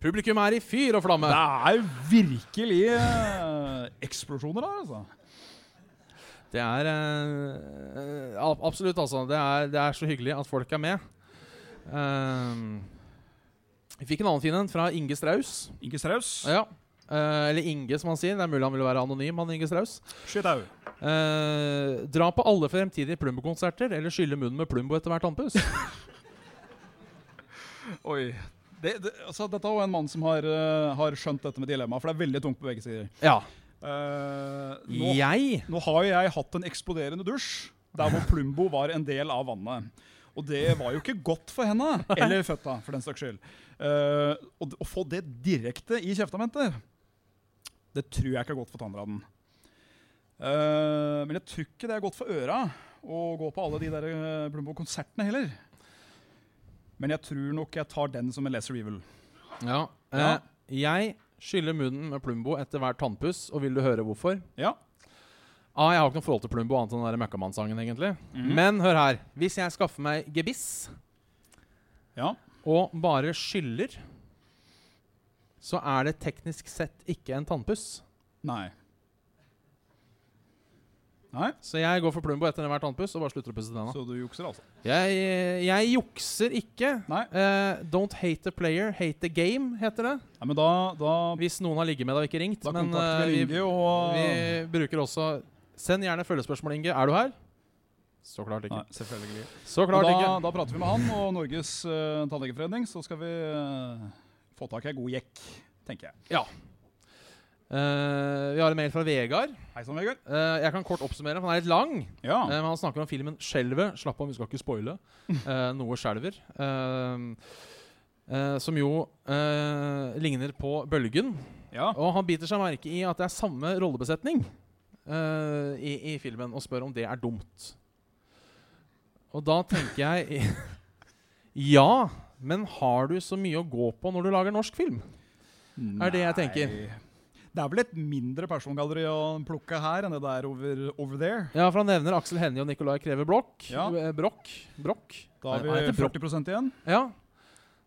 Speaker 3: Publikum er i fyr og flamme.
Speaker 4: Det er virkelig eh, eksplosjoner her, altså.
Speaker 3: Det er eh, eh, ab- Absolutt, altså. Det er, det er så hyggelig at folk er med. Ehm, vi fikk en annen fin en fra Inge Strauss.
Speaker 4: Ikke straus.
Speaker 3: Ja. Eh, eller Inge, som han sier. Det er mulig han vil være anonym, han Inge Strauss.
Speaker 4: Shit au.
Speaker 3: Eh, dra på alle fremtidige Plumbo-konserter, eller skylle munnen med Plumbo etter hvert andpust.
Speaker 4: Oi. Det, det, altså, dette er jo en mann som har, eh, har skjønt dette med dilemmaet, for det er veldig tungt på begge sider.
Speaker 3: [laughs] ja.
Speaker 4: Eh, nå,
Speaker 3: Jeg
Speaker 4: nå har jo jeg hatt en eksploderende dusj der hvor Plumbo var en del av vannet. Og det var jo ikke godt for henne, eller føtta, for den saks skyld. Eh, og d- å få det direkte i kjeftamentet, det tror jeg ikke er godt for tannraden. Eh, men jeg tror ikke det er godt for øra å gå på alle de der eh, Plumbo-konsertene heller. Men jeg tror nok jeg tar den som en lesser evil.
Speaker 3: Ja. eh,
Speaker 4: Ja.
Speaker 3: Jeg skyller munnen med Plumbo etter hvert tannpuss, og vil du høre hvorfor?
Speaker 4: Ja.
Speaker 3: Ah, jeg har ikke noe forhold til Plumbo annet enn den der Møkkamann-sangen, egentlig.
Speaker 4: Mhm.
Speaker 3: Men hør her. Hvis jeg skaffer meg gebiss
Speaker 4: Ja.
Speaker 3: og bare skyller, så er det teknisk sett ikke en tannpuss.
Speaker 4: Nei. Nei,
Speaker 3: Så jeg går for Plumbo etter hvert tannpuss og bare slutter å pusse tenna.
Speaker 4: så du jukser altså.
Speaker 3: Jeg, jeg jukser ikke.
Speaker 4: Nei.
Speaker 3: Eh, don't hate the player, hate the game, heter det.
Speaker 4: Nei, men da, da,
Speaker 3: Hvis noen har ligget med deg og ikke ringt.
Speaker 4: da
Speaker 3: men eh,
Speaker 4: kontakter vi
Speaker 3: vi,
Speaker 4: Inge og eh,
Speaker 3: Vi bruker også Send gjerne følgespørsmål, Inge. Er du her? Så klart ikke.
Speaker 4: Nei, selvfølgelig.
Speaker 3: Så
Speaker 4: Men
Speaker 3: klart
Speaker 4: da,
Speaker 3: ikke.
Speaker 4: da prater vi med han og Norges uh, tannlegeforening, så skal vi eh, få tak i ei god jekk, tenker jeg.
Speaker 3: Eh, vi har en mail fra Vegard.
Speaker 4: Hei sann, Vegard.
Speaker 3: Eh, jeg kan kort oppsummere, for han er litt lang.
Speaker 4: Ja.
Speaker 3: Eh, men han snakker om filmen 'Skjelvet'. Slapp av, vi skal ikke spoile. Eh, noe skjelver. Eh, eh, som jo eh, ligner på 'Bølgen'.
Speaker 4: ja.
Speaker 3: Og han biter seg merke i at det er samme rollebesetning eh, i, i filmen, og spør om det er dumt. Og da tenker jeg [laughs] Ja, men har du så mye å gå på når du lager norsk film? Er det jeg tenker.
Speaker 4: Det er vel et mindre persongalleri å plukke her enn det der over, over there.
Speaker 3: Ja, for han nevner Aksel Hennie og Nicolai Kreve Blokk.
Speaker 4: Ja.
Speaker 3: Eh, Brokk. Brokk.
Speaker 4: Da
Speaker 3: Nei, han
Speaker 4: har vi
Speaker 3: heter Brokk.
Speaker 4: 40 igjen.
Speaker 3: Ja.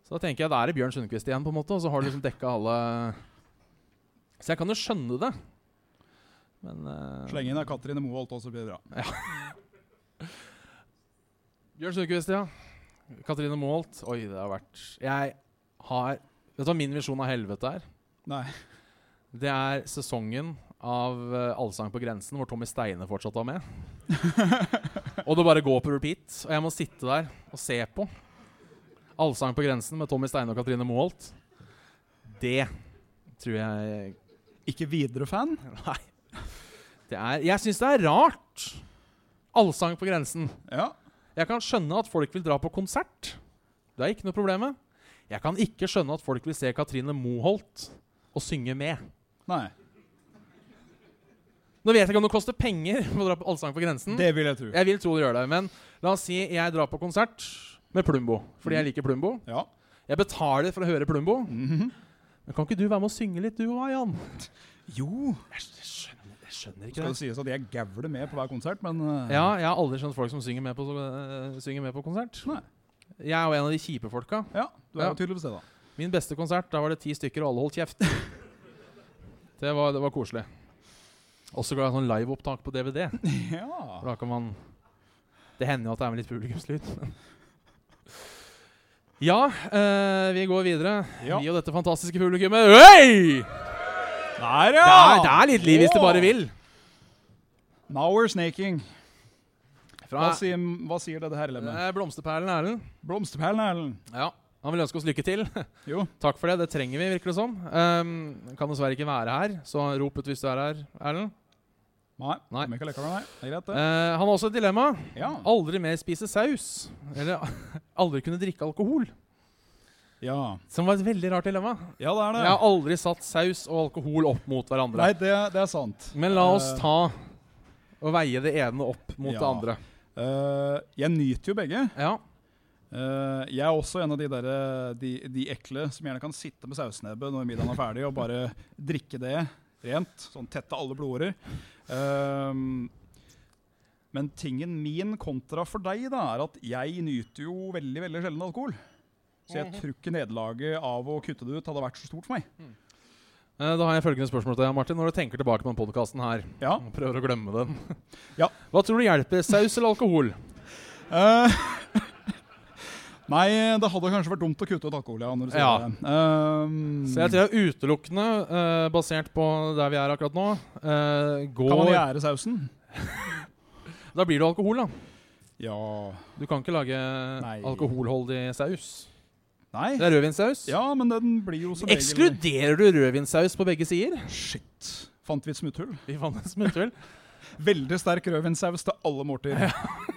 Speaker 3: Så da tenker jeg da er det Bjørn Sundquist igjen, på en måte, og så har du liksom dekka alle Så jeg kan jo skjønne det. Men eh,
Speaker 4: Slenge inn av Katrine Moholt også, så blir det bra.
Speaker 3: Bjørn Sundquist, ja. Katrine Moholt. Oi, det har vært Jeg har Vet du hva min visjon av helvete er?
Speaker 4: Nei.
Speaker 3: Det er sesongen av eh, Allsang på grensen hvor Tommy Steine fortsatt var med. og det bare går på repeat, og jeg må sitte der og se på. Allsang på grensen med Tommy Steine og Katrine Moholt. Det tror jeg [laughs]
Speaker 4: Ikke videre fan.
Speaker 3: Nei. Det er, jeg syns det er rart. Allsang på grensen.
Speaker 4: Ja.
Speaker 3: Jeg kan skjønne at folk vil dra på konsert. Det er ikke noe problem med. Jeg kan ikke skjønne at folk vil se Katrine Moholt og synge med.
Speaker 4: Nei.
Speaker 3: Nå vet jeg ikke om det koster penger [laughs] for å dra på Allsang på grensen.
Speaker 4: Det vil jeg tro.
Speaker 3: Jeg vil tro det gjør det, men la oss si jeg drar på konsert med Plumbo. Fordi jeg liker Plumbo.
Speaker 4: Ja. Mhm.
Speaker 3: Jeg betaler for å høre Plumbo. Men kan ikke du være med og synge litt, du òg, Jan?
Speaker 4: Jo.
Speaker 3: Jeg skjønner, jeg skjønner ikke
Speaker 4: Skal det
Speaker 3: det.
Speaker 4: sies at jeg gævler med på hver konsert, men eh,
Speaker 3: Ja, jeg har aldri skjønt folk som synger med på, øh, synger med på konsert.
Speaker 4: Nei.
Speaker 3: Jeg er jo en av de kjipe folka.
Speaker 4: ja du er
Speaker 3: Ja.
Speaker 4: jo tydeligvis
Speaker 3: [laughs]
Speaker 4: det, da.
Speaker 3: Min beste konsert, da var det ti stykker, og alle holdt kjeft. [laughs] Det var, det var koselig. Også glad i sånn liveopptak på DVD.
Speaker 4: Ja.
Speaker 3: For da kan man Det hender jo at det er med litt publikumslyd. [laughs] men- Ja, eh, vi går videre.
Speaker 4: Ja.
Speaker 3: Vi og dette fantastiske publikummet. Oi!
Speaker 4: Der,
Speaker 3: Det, er, det er litt liv hvis du bare vil.
Speaker 4: Now we're snaking. Hva
Speaker 3: Fra
Speaker 4: sier, hva sier dette her, Lemme?
Speaker 3: eh, Blomsterperlen Erlend.
Speaker 4: Blomsterperlen, Erlend.
Speaker 3: Ja, han vil ønske oss lykke til. [laughs]
Speaker 4: Jo.
Speaker 3: Takk for det. Det trenger vi, virker det som. Um, kan dessverre ikke være her, så rop ut hvis du er her, Erlend.
Speaker 4: Nei.
Speaker 3: Nei.
Speaker 4: Michael Eckermann, nei. Det er greit, det.
Speaker 3: Eh, han har også et dilemma.
Speaker 4: Ja.
Speaker 3: Aldri mer spise saus. Eller [laughs] aldri kunne drikke alkohol.
Speaker 4: ja.
Speaker 3: Som var et veldig rart dilemma.
Speaker 4: Ja, det er det.
Speaker 3: Jeg har aldri satt saus og alkohol opp mot
Speaker 4: Nei,
Speaker 3: hverandre.
Speaker 4: det, det er sant.
Speaker 3: Men la oss
Speaker 4: Eh,
Speaker 3: ta og veie det ene opp mot det
Speaker 4: Ja.
Speaker 3: andre.
Speaker 4: eh, jeg nyter jo begge.
Speaker 3: Ja.
Speaker 4: Eh, jeg er også en av de, der, de, de ekle som gjerne kan sitte med sausnebbe når middagen er ferdig, og bare drikke det rent. Sånn tette alle blodårer. Ehm, men tingen min kontra for deg, da, er at jeg nyter jo veldig veldig sjelden alkohol. Så
Speaker 3: Mhm.
Speaker 4: jeg tror ikke nederlaget av å kutte det ut hadde vært så stort for meg.
Speaker 3: Eh, Da har jeg følgende spørsmål til deg, Martin. Når du tenker tilbake på den podkasten her
Speaker 4: Ja.
Speaker 3: og prøver å glemme den
Speaker 4: [laughs] Ja.
Speaker 3: Hva tror du hjelper? Saus eller alkohol?
Speaker 4: Eh, [laughs] Nei, det hadde kanskje vært dumt å kutte ut alkohol, ja. Når du sier
Speaker 3: Ja.
Speaker 4: det. Ehm,
Speaker 3: Så jeg tror jeg utelukkende, eh, basert på der vi er akkurat nå, eh,
Speaker 4: kan man
Speaker 3: går
Speaker 4: gjære sausen?
Speaker 3: Da blir det alkohol, da.
Speaker 4: Ja
Speaker 3: Du kan ikke lage
Speaker 4: Nei.
Speaker 3: alkoholholdig saus.
Speaker 4: Nei.
Speaker 3: Det er rødvinsaus.
Speaker 4: Ja, men den blir jo som regel
Speaker 3: Ekskluderer du rødvinsaus på begge sider?
Speaker 4: Shit. Fant vi et smutthull?
Speaker 3: Vi fant en smutthull.
Speaker 4: Veldig sterk rødvinsaus til alle måltider. [laughs]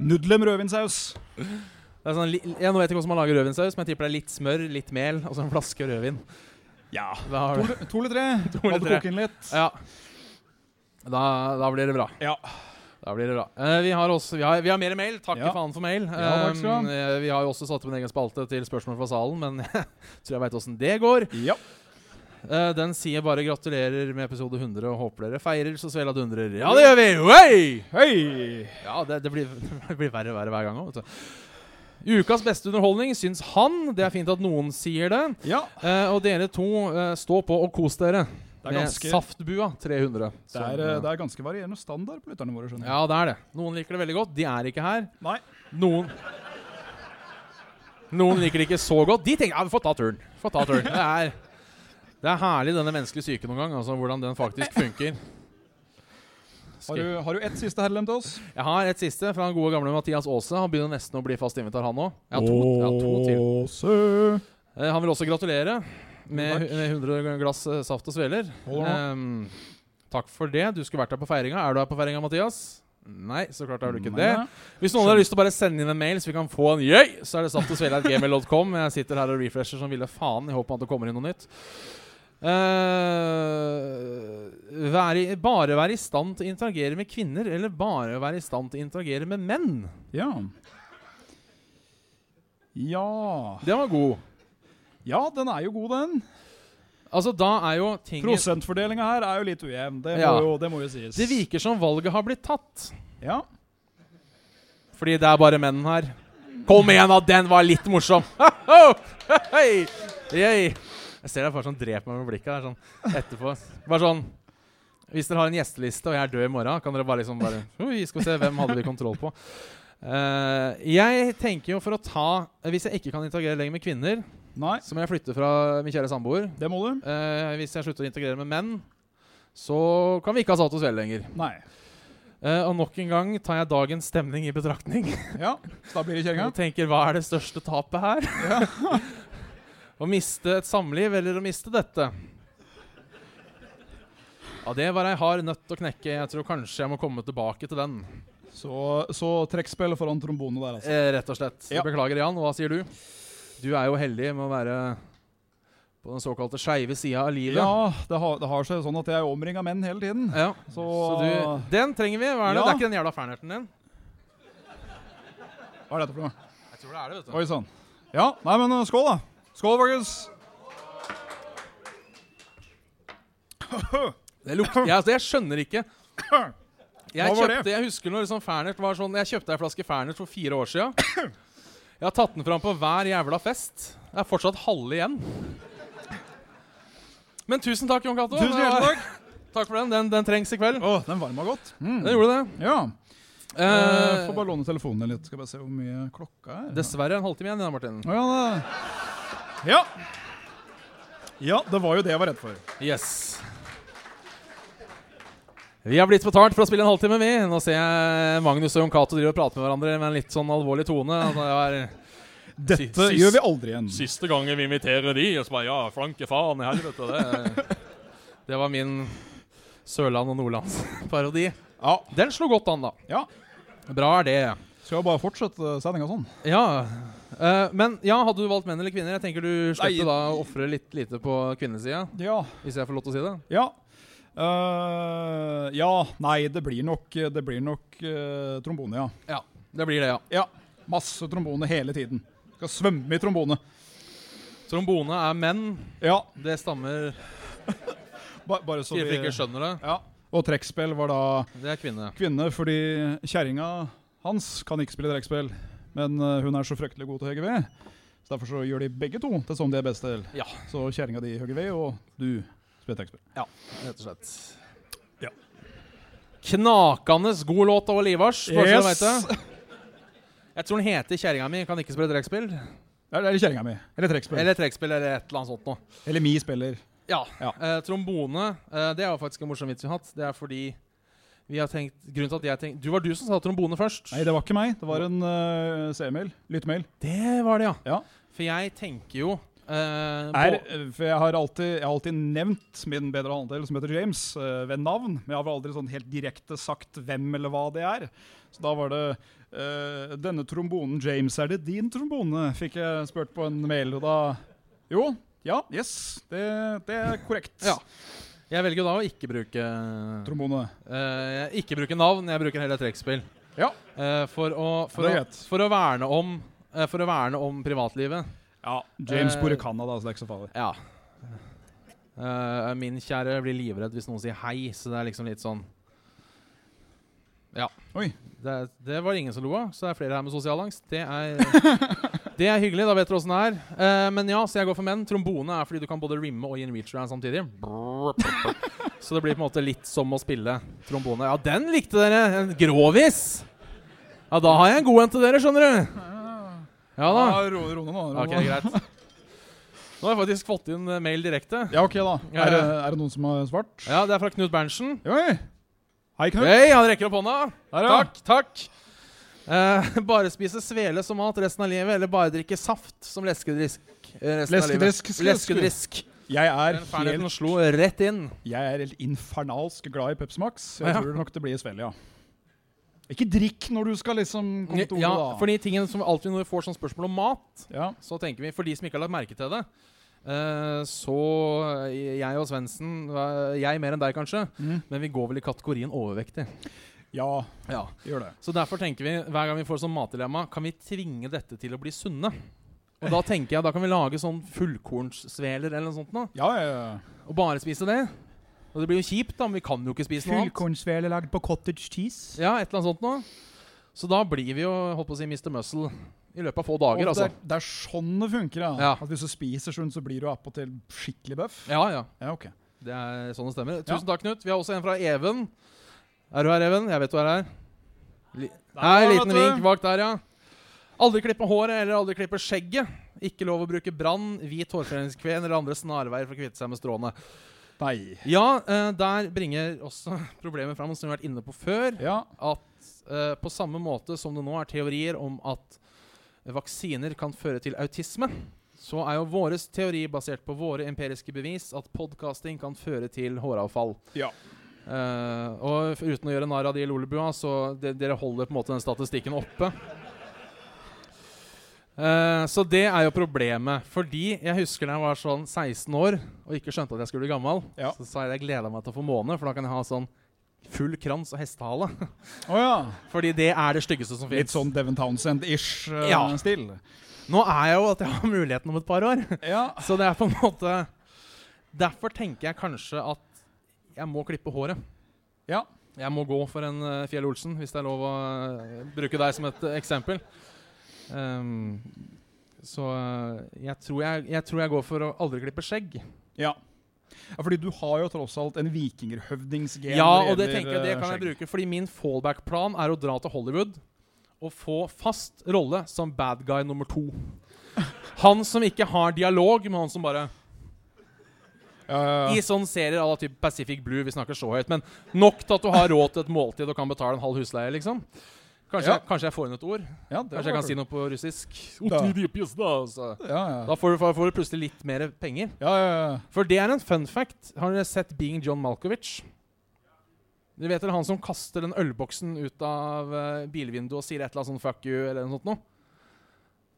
Speaker 4: Nudlem rødvinsaus.
Speaker 3: Det er sånn, li- jeg nå vet ikke hvordan man lager rødvinsaus, men jeg tipper det er litt smør, litt mel og så en flaske rødvin.
Speaker 4: Ja.
Speaker 3: Da, har
Speaker 4: To,
Speaker 3: du, [laughs]
Speaker 4: to eller tre.
Speaker 3: To eller
Speaker 4: Hadde
Speaker 3: tre.
Speaker 4: koke inn litt.
Speaker 3: ja. da, da blir det bra.
Speaker 4: Ja.
Speaker 3: Da blir det bra. Eh, vi, har også, vi, har, vi har mer mail. Takk
Speaker 4: Ja.
Speaker 3: faen for mail.
Speaker 4: Ja, takk skal du ha.
Speaker 3: Eh, vi har jo også satt opp en egen spalte til spørsmål fra salen, men [laughs] jeg tror jeg veit åssen det går.
Speaker 4: Ja.
Speaker 3: Eh, den sier bare gratulerer med episode 100 og håper dere feirer så svela dundrer. Ja, det gjør vi! Oi!
Speaker 4: Hei!
Speaker 3: Ja, det, det, blir, [laughs] det blir verre og verre hver gang òg, vet du. Ukas beste underholdning, syns han. Det er fint at noen sier det.
Speaker 4: Ja.
Speaker 3: Eh, og dere to, eh, stå på og kos dere.
Speaker 4: Det er ganske,
Speaker 3: Med Saftbua 300.
Speaker 4: det
Speaker 3: som,
Speaker 4: er, eh,
Speaker 3: eh,
Speaker 4: det er ganske varierende standard på lytterne våre, skjønner jeg.
Speaker 3: Ja, det er det. Noen liker det veldig godt. De er ikke her.
Speaker 4: Nei.
Speaker 3: Noen Noen liker det ikke så godt. De tenker ja, vi får ta turen. Vi Får ta turen. Det er, det er herlig, denne menneskelige syken noen gang. Altså hvordan den faktisk funker.
Speaker 4: Har du, har du ett siste herlem til oss?
Speaker 3: Jeg har et siste fra den gode gamle Mathias Aase. Han begynner nesten å bli fast invitar, han òg. Jeg har to, jeg har to til.
Speaker 4: Åse.
Speaker 3: Eh, Han vil også gratulere med,
Speaker 4: Takk.
Speaker 3: med 100 glass eh, saft og sveler.
Speaker 4: Hold
Speaker 3: Ehm, takk for det. Du skulle vært her på feiringa. Er du her på feiringa, Mathias? Nei, så klart er du ikke det.
Speaker 4: Nei, nei.
Speaker 3: Hvis noen har lyst til å bare sende inn en mail, så vi kan få en jøy, så er det saftogsveler.gmail.com. Jeg sitter her og refresher som ville faen i håp om at det kommer inn noe nytt. Eh, være i, bare være i stand til å interagere med kvinner, eller bare være i stand til å interagere med menn.
Speaker 4: Ja. Ja.
Speaker 3: Den var god.
Speaker 4: ja, den er jo god, den.
Speaker 3: Altså, da er jo ting
Speaker 4: Prosentfordelinga her er jo litt ujevn. Det,
Speaker 3: Ja.
Speaker 4: må jo, det må jo sies.
Speaker 3: Det virker som valget har blitt tatt.
Speaker 4: Ja.
Speaker 3: Fordi det er bare menn her. Kom igjen, da! Den var litt morsom! [laughs] Ho-ho! Hei! Yay! Jeg ser deg bare sånn dreper meg med blikket der sånn etterpå. Bare sånn Hvis dere har en gjesteliste, og jeg er død i morgen, kan dere bare liksom bare Oi, skal vi se, hvem hadde vi kontroll på? Eh, jeg tenker jo for å ta Hvis jeg ikke kan interagere lenger med kvinner,
Speaker 4: Nei,
Speaker 3: så må jeg flytte fra min kjære samboer.
Speaker 4: det må du.
Speaker 3: Eh, hvis jeg slutter å integrere med menn, så kan vi ikke ha Salt og Svele lenger.
Speaker 4: Nei.
Speaker 3: Eh, og nok en gang tar jeg dagens stemning i betraktning.
Speaker 4: Ja, så da blir det kjerringa.
Speaker 3: Og tenker hva er det største tapet her? [laughs] å miste et samliv eller å miste dette? Ja, Det var ei hard nøtt å knekke. Jeg tror kanskje jeg må komme tilbake til den.
Speaker 4: Så, så trekkspill foran trombone der, altså.
Speaker 3: Eh, rett og slett.
Speaker 4: Ja.
Speaker 3: Beklager, Jan. Hva sier du? Du er jo heldig med å være på den såkalte skeive sida av livet.
Speaker 4: Ja, det har, det har seg sånn at jeg er omringa menn hele tiden.
Speaker 3: Ja.
Speaker 4: Så,
Speaker 3: Så du, den trenger vi. Hva er det?
Speaker 4: Ja.
Speaker 3: det er ikke den jævla fanerten din?
Speaker 4: Hva er dette for noe?
Speaker 3: Jeg tror det er det, vet
Speaker 4: Oi sann. Ja, nei, men uh, skål, da. Skål, folkens.
Speaker 3: Det lukter, jeg, altså, jeg skjønner
Speaker 4: [coughs]
Speaker 3: ikke. Jeg,
Speaker 4: Hva var det?
Speaker 3: kjøpte, jeg husker når sånn Fernert var sånn Jeg kjøpte ei flaske Fernert for fire år sia. Jeg har tatt den fram på hver jævla fest. Det er fortsatt halve igjen. Men tusen takk, Jon Cato.
Speaker 4: Tusen hjertelig takk.
Speaker 3: Takk for den. den. Den trengs i kveld.
Speaker 4: Å, den varma godt. Mm.
Speaker 3: Den gjorde det.
Speaker 4: Ja.
Speaker 3: Eh,
Speaker 4: Eh, får bare låne telefonen din litt. Skal bare se hvor mye klokka er.
Speaker 3: dessverre en halvtime igjen, ja, Martin.
Speaker 4: Å, ja, det. ja. Ja, det var jo det jeg var redd for.
Speaker 3: Yes. Vi har blitt betalt for å spille en halvtime, vi. Nå ser jeg Magnus og Jon Cato driver og prater med hverandre med en litt sånn alvorlig tone. og Det er
Speaker 4: Dette
Speaker 3: Sys-
Speaker 4: gjør vi aldri igjen.
Speaker 2: Siste gangen vi inviterer de, og så bare ja, flanke faen i helvete. Det
Speaker 3: [laughs] Det var min Sørland- og Nordlandsparodi.
Speaker 4: Ja.
Speaker 3: Den slo godt an, da.
Speaker 4: Ja.
Speaker 3: Bra er det.
Speaker 4: Skal jo bare fortsette sendinga sånn.
Speaker 3: Ja. Eh, men ja, hadde du valgt menn eller kvinner? Jeg tenker du slipper
Speaker 4: Nei.
Speaker 3: da å ofre litt lite på kvinnesida,
Speaker 4: Ja.
Speaker 3: hvis jeg får lov til å si det.
Speaker 4: Ja. Eh, ja, nei, det blir nok, det blir nok eh, trombone, ja.
Speaker 3: Ja, det blir det, ja.
Speaker 4: Ja, Masse trombone hele tiden. Skal svømme i trombone.
Speaker 3: Trombone er menn.
Speaker 4: Ja,
Speaker 3: Det stammer
Speaker 4: ba, bare så
Speaker 3: Sier
Speaker 4: vi
Speaker 3: dere ikke skjønner det.
Speaker 4: ja. Og trekkspill var da
Speaker 3: Det er kvinne.
Speaker 4: kvinne, fordi kjerringa hans kan ikke spille trekkspill. Men eh, hun er så fryktelig god til å hogge ved, så derfor så gjør de begge to til som de er best til.
Speaker 3: Ja.
Speaker 4: Så kjerringa di hogger ved, og du spiller trekkspill.
Speaker 3: rett og slett.
Speaker 4: Ja.
Speaker 3: Knakende god låt av Olivars. Bare så du
Speaker 4: Yes.
Speaker 3: vet det. Jeg tror den heter 'Kjerringa mi kan ikke spille trekkspill'.
Speaker 4: Ja, det er kjerringa mi. Eller trekkspill. Eller,
Speaker 3: Eller trekkspill eller et eller annet sånt noe.
Speaker 4: mi spiller.
Speaker 3: Ja.
Speaker 4: Ja.
Speaker 3: Eh, trombone, eh, det er jo faktisk en morsom vits vi har hatt. Det er fordi vi har tenkt Grunnen til at jeg tenkte Du var du som sa trombone først.
Speaker 4: Nei, det var ikke meg. Det var en uh, C-mail. Lyttemail.
Speaker 3: Det var det, ja.
Speaker 4: Ja.
Speaker 3: For jeg tenker jo eh,
Speaker 4: er,
Speaker 3: på-
Speaker 4: eh, for jeg har, alltid, jeg har alltid nevnt min bedre halvdel, som heter James, eh, ved navn. Men jeg har vel aldri sånn helt direkte sagt hvem eller hva det er. Så da var det eh, 'Denne trombonen, James, er det din trombone?' fikk jeg spurt på en mail. Og da Jo. Ja. Yes. Det, det er korrekt.
Speaker 3: Ja. Jeg velger jo da å ikke bruke
Speaker 4: Trombone.
Speaker 3: eh, Ikke bruke navn, jeg bruker heller trekkspill.
Speaker 4: Ja.
Speaker 3: Eh, for, å, for,
Speaker 4: Ja, det er
Speaker 3: å,
Speaker 4: greit.
Speaker 3: for å verne om eh, For å verne om privatlivet.
Speaker 4: ja. James
Speaker 3: Eh,
Speaker 4: bor i Canada, så det er ikke så farlig.
Speaker 3: Ja. Eh, min kjære blir livredd hvis noen sier hei, så det er liksom litt sånn Ja.
Speaker 4: Oi.
Speaker 3: Det, det var ingen som lo av, så det er flere her med sosial angst. Det er, [laughs] det er hyggelig, da vet dere åssen det er. Eh, men ja, så jeg går for menn. Trombone er fordi du kan både rimme og gi en reach round samtidig. [laughs] Så det blir på en måte litt som å spille trombone. Ja, den likte dere! En grovis! Ja, da har jeg en god en til dere, skjønner du. Ja da.
Speaker 4: Ja, ro, ro nå, nå, ro
Speaker 3: Ok,
Speaker 4: nå.
Speaker 3: greit. Nå har jeg faktisk fått inn eh, mail direkte.
Speaker 4: Ja, OK, da.
Speaker 3: Ja,
Speaker 4: Er, det-
Speaker 3: ja.
Speaker 4: er det noen som har svart?
Speaker 3: Ja, det er fra Knut Berntsen.
Speaker 4: Oi. Hei, Knut.
Speaker 3: Hei, han rekker opp hånda.
Speaker 4: Der, ja.
Speaker 3: Takk, takk. Eh, [laughs] bare spise svele som mat resten av livet, eller bare drikke saft som leskedrisk. eh, resten av livet.
Speaker 4: Leskedrisk, skal-
Speaker 3: Leskedrisk.
Speaker 4: Jeg er
Speaker 3: Den
Speaker 4: helt
Speaker 3: ferdigheten slo rett inn.
Speaker 4: Jeg er helt infernalsk glad i Pepsi Max. så Jeg
Speaker 3: Ja.
Speaker 4: tror nok det blir svelle, ja. Ikke drikk når du skal liksom komme til ordet,
Speaker 3: Ja,
Speaker 4: da.
Speaker 3: fordi tingen som alltid når vi får sånn spørsmål om mat,
Speaker 4: ja.
Speaker 3: så tenker vi, for de som ikke har lagt merke til det, eh, så jeg og Svendsen, eh, jeg mer enn deg kanskje,
Speaker 4: Mhm.
Speaker 3: men vi går vel i kategorien overvektig.
Speaker 4: ja,
Speaker 3: Ja.
Speaker 4: gjør det.
Speaker 3: Så derfor tenker vi, hver gang vi får sånn matdilemma, kan vi tvinge dette til å bli sunne? Og da tenker jeg, da kan vi lage sånn fullkornssveler eller noe sånt nå,
Speaker 4: Ja, ja, ja.
Speaker 3: og bare spise det. Og det blir jo kjipt, da, men vi kan jo ikke spise noe annet.
Speaker 5: Fullkornsvele lagd på cottage cheese.
Speaker 3: Ja, et eller annet sånt nå. Så da blir vi jo, holdt på å si, Mr. Muscle i løpet av få
Speaker 4: Og
Speaker 3: dager,
Speaker 4: det,
Speaker 3: altså.
Speaker 4: er, det er sånn det funker, ja.
Speaker 3: Ja.
Speaker 4: At hvis du spiser sånn, så blir du appåtil skikkelig bøff.
Speaker 3: Ja, ja.
Speaker 4: Ja, ok.
Speaker 3: Det er sånn det stemmer. Tusen takk, Knut. Vi har også en fra Even. Er du her, Even? Jeg vet du er her. Li Hei,
Speaker 4: var han,
Speaker 3: liten
Speaker 4: vet du.
Speaker 3: vink bak der, ja. Aldri klippe håret eller aldri klippe skjegget. Ikke lov å bruke brann, hvit hårfredningskven eller andre snarveier for å kvitte seg med stråene.
Speaker 4: Nei.
Speaker 3: Ja, eh, der bringer også [laughs] problemet fram som vi har vært inne på før.
Speaker 4: Ja,
Speaker 3: At eh, på samme måte som det nå er teorier om at vaksiner kan føre til autisme, så er jo vår teori basert på våre empiriske bevis at podkasting kan føre til håravfall.
Speaker 4: Ja.
Speaker 3: Eh, og f- uten å gjøre narr av de i Lolebua, så de, dere holder på en måte den statistikken oppe. Eh, så det er jo problemet. Fordi jeg husker da jeg var sånn 16 år og ikke skjønte at jeg skulle bli gammel,
Speaker 4: Ja.
Speaker 3: så sa jeg jeg gleda meg til å få måne, for da kan jeg ha sånn full krans og hestehale.
Speaker 4: Å ja.
Speaker 3: Fordi det er det styggeste som
Speaker 4: Litt
Speaker 3: fins.
Speaker 4: sånn Devon Townsend-ish eh,
Speaker 3: Ja.
Speaker 4: stil.
Speaker 3: Nå er jeg jo at jeg har muligheten om et par år.
Speaker 4: Ja.
Speaker 3: Så det er på en måte Derfor tenker jeg kanskje at jeg må klippe håret.
Speaker 4: Ja.
Speaker 3: Jeg må gå for en eh, Fjell Olsen, hvis det er lov å eh, bruke deg som et eh, eksempel. Ehm, så eh, jeg, tror jeg, jeg tror jeg går for å aldri klippe skjegg.
Speaker 4: ja. Ja, Fordi du har jo tross alt en vikingerhøvdingsgen.
Speaker 3: Ja,
Speaker 4: når
Speaker 3: og det
Speaker 4: gjelder,
Speaker 3: tenker jeg det
Speaker 4: eh,
Speaker 3: kan jeg
Speaker 4: skjegg.
Speaker 3: bruke. Fordi min fallback-plan er å dra til Hollywood og få fast rolle som bad guy nummer to. Han som ikke har dialog, men han som bare
Speaker 4: Ja, ja, ja.
Speaker 3: I sånne serier à la typ Pacific Blue, vi snakker så høyt, men nok til at du har råd til et måltid og kan betale en halv husleie, liksom. Kanskje,
Speaker 4: Ja.
Speaker 3: jeg, kanskje jeg får inn et ord?
Speaker 4: ja, det
Speaker 3: Kanskje jeg
Speaker 4: var-
Speaker 3: kan si noe på russisk?
Speaker 4: Da.
Speaker 3: Da,
Speaker 4: Ja, ja.
Speaker 3: da får, du, får du plutselig litt mer penger.
Speaker 4: Ja, ja, ja.
Speaker 3: For det er en fun fact. Har dere sett Being John Malkovich? Du vet dere han som kaster den ølboksen ut av eh, bilvinduet og sier et eller annet sånn fuck you eller noe sånt noe?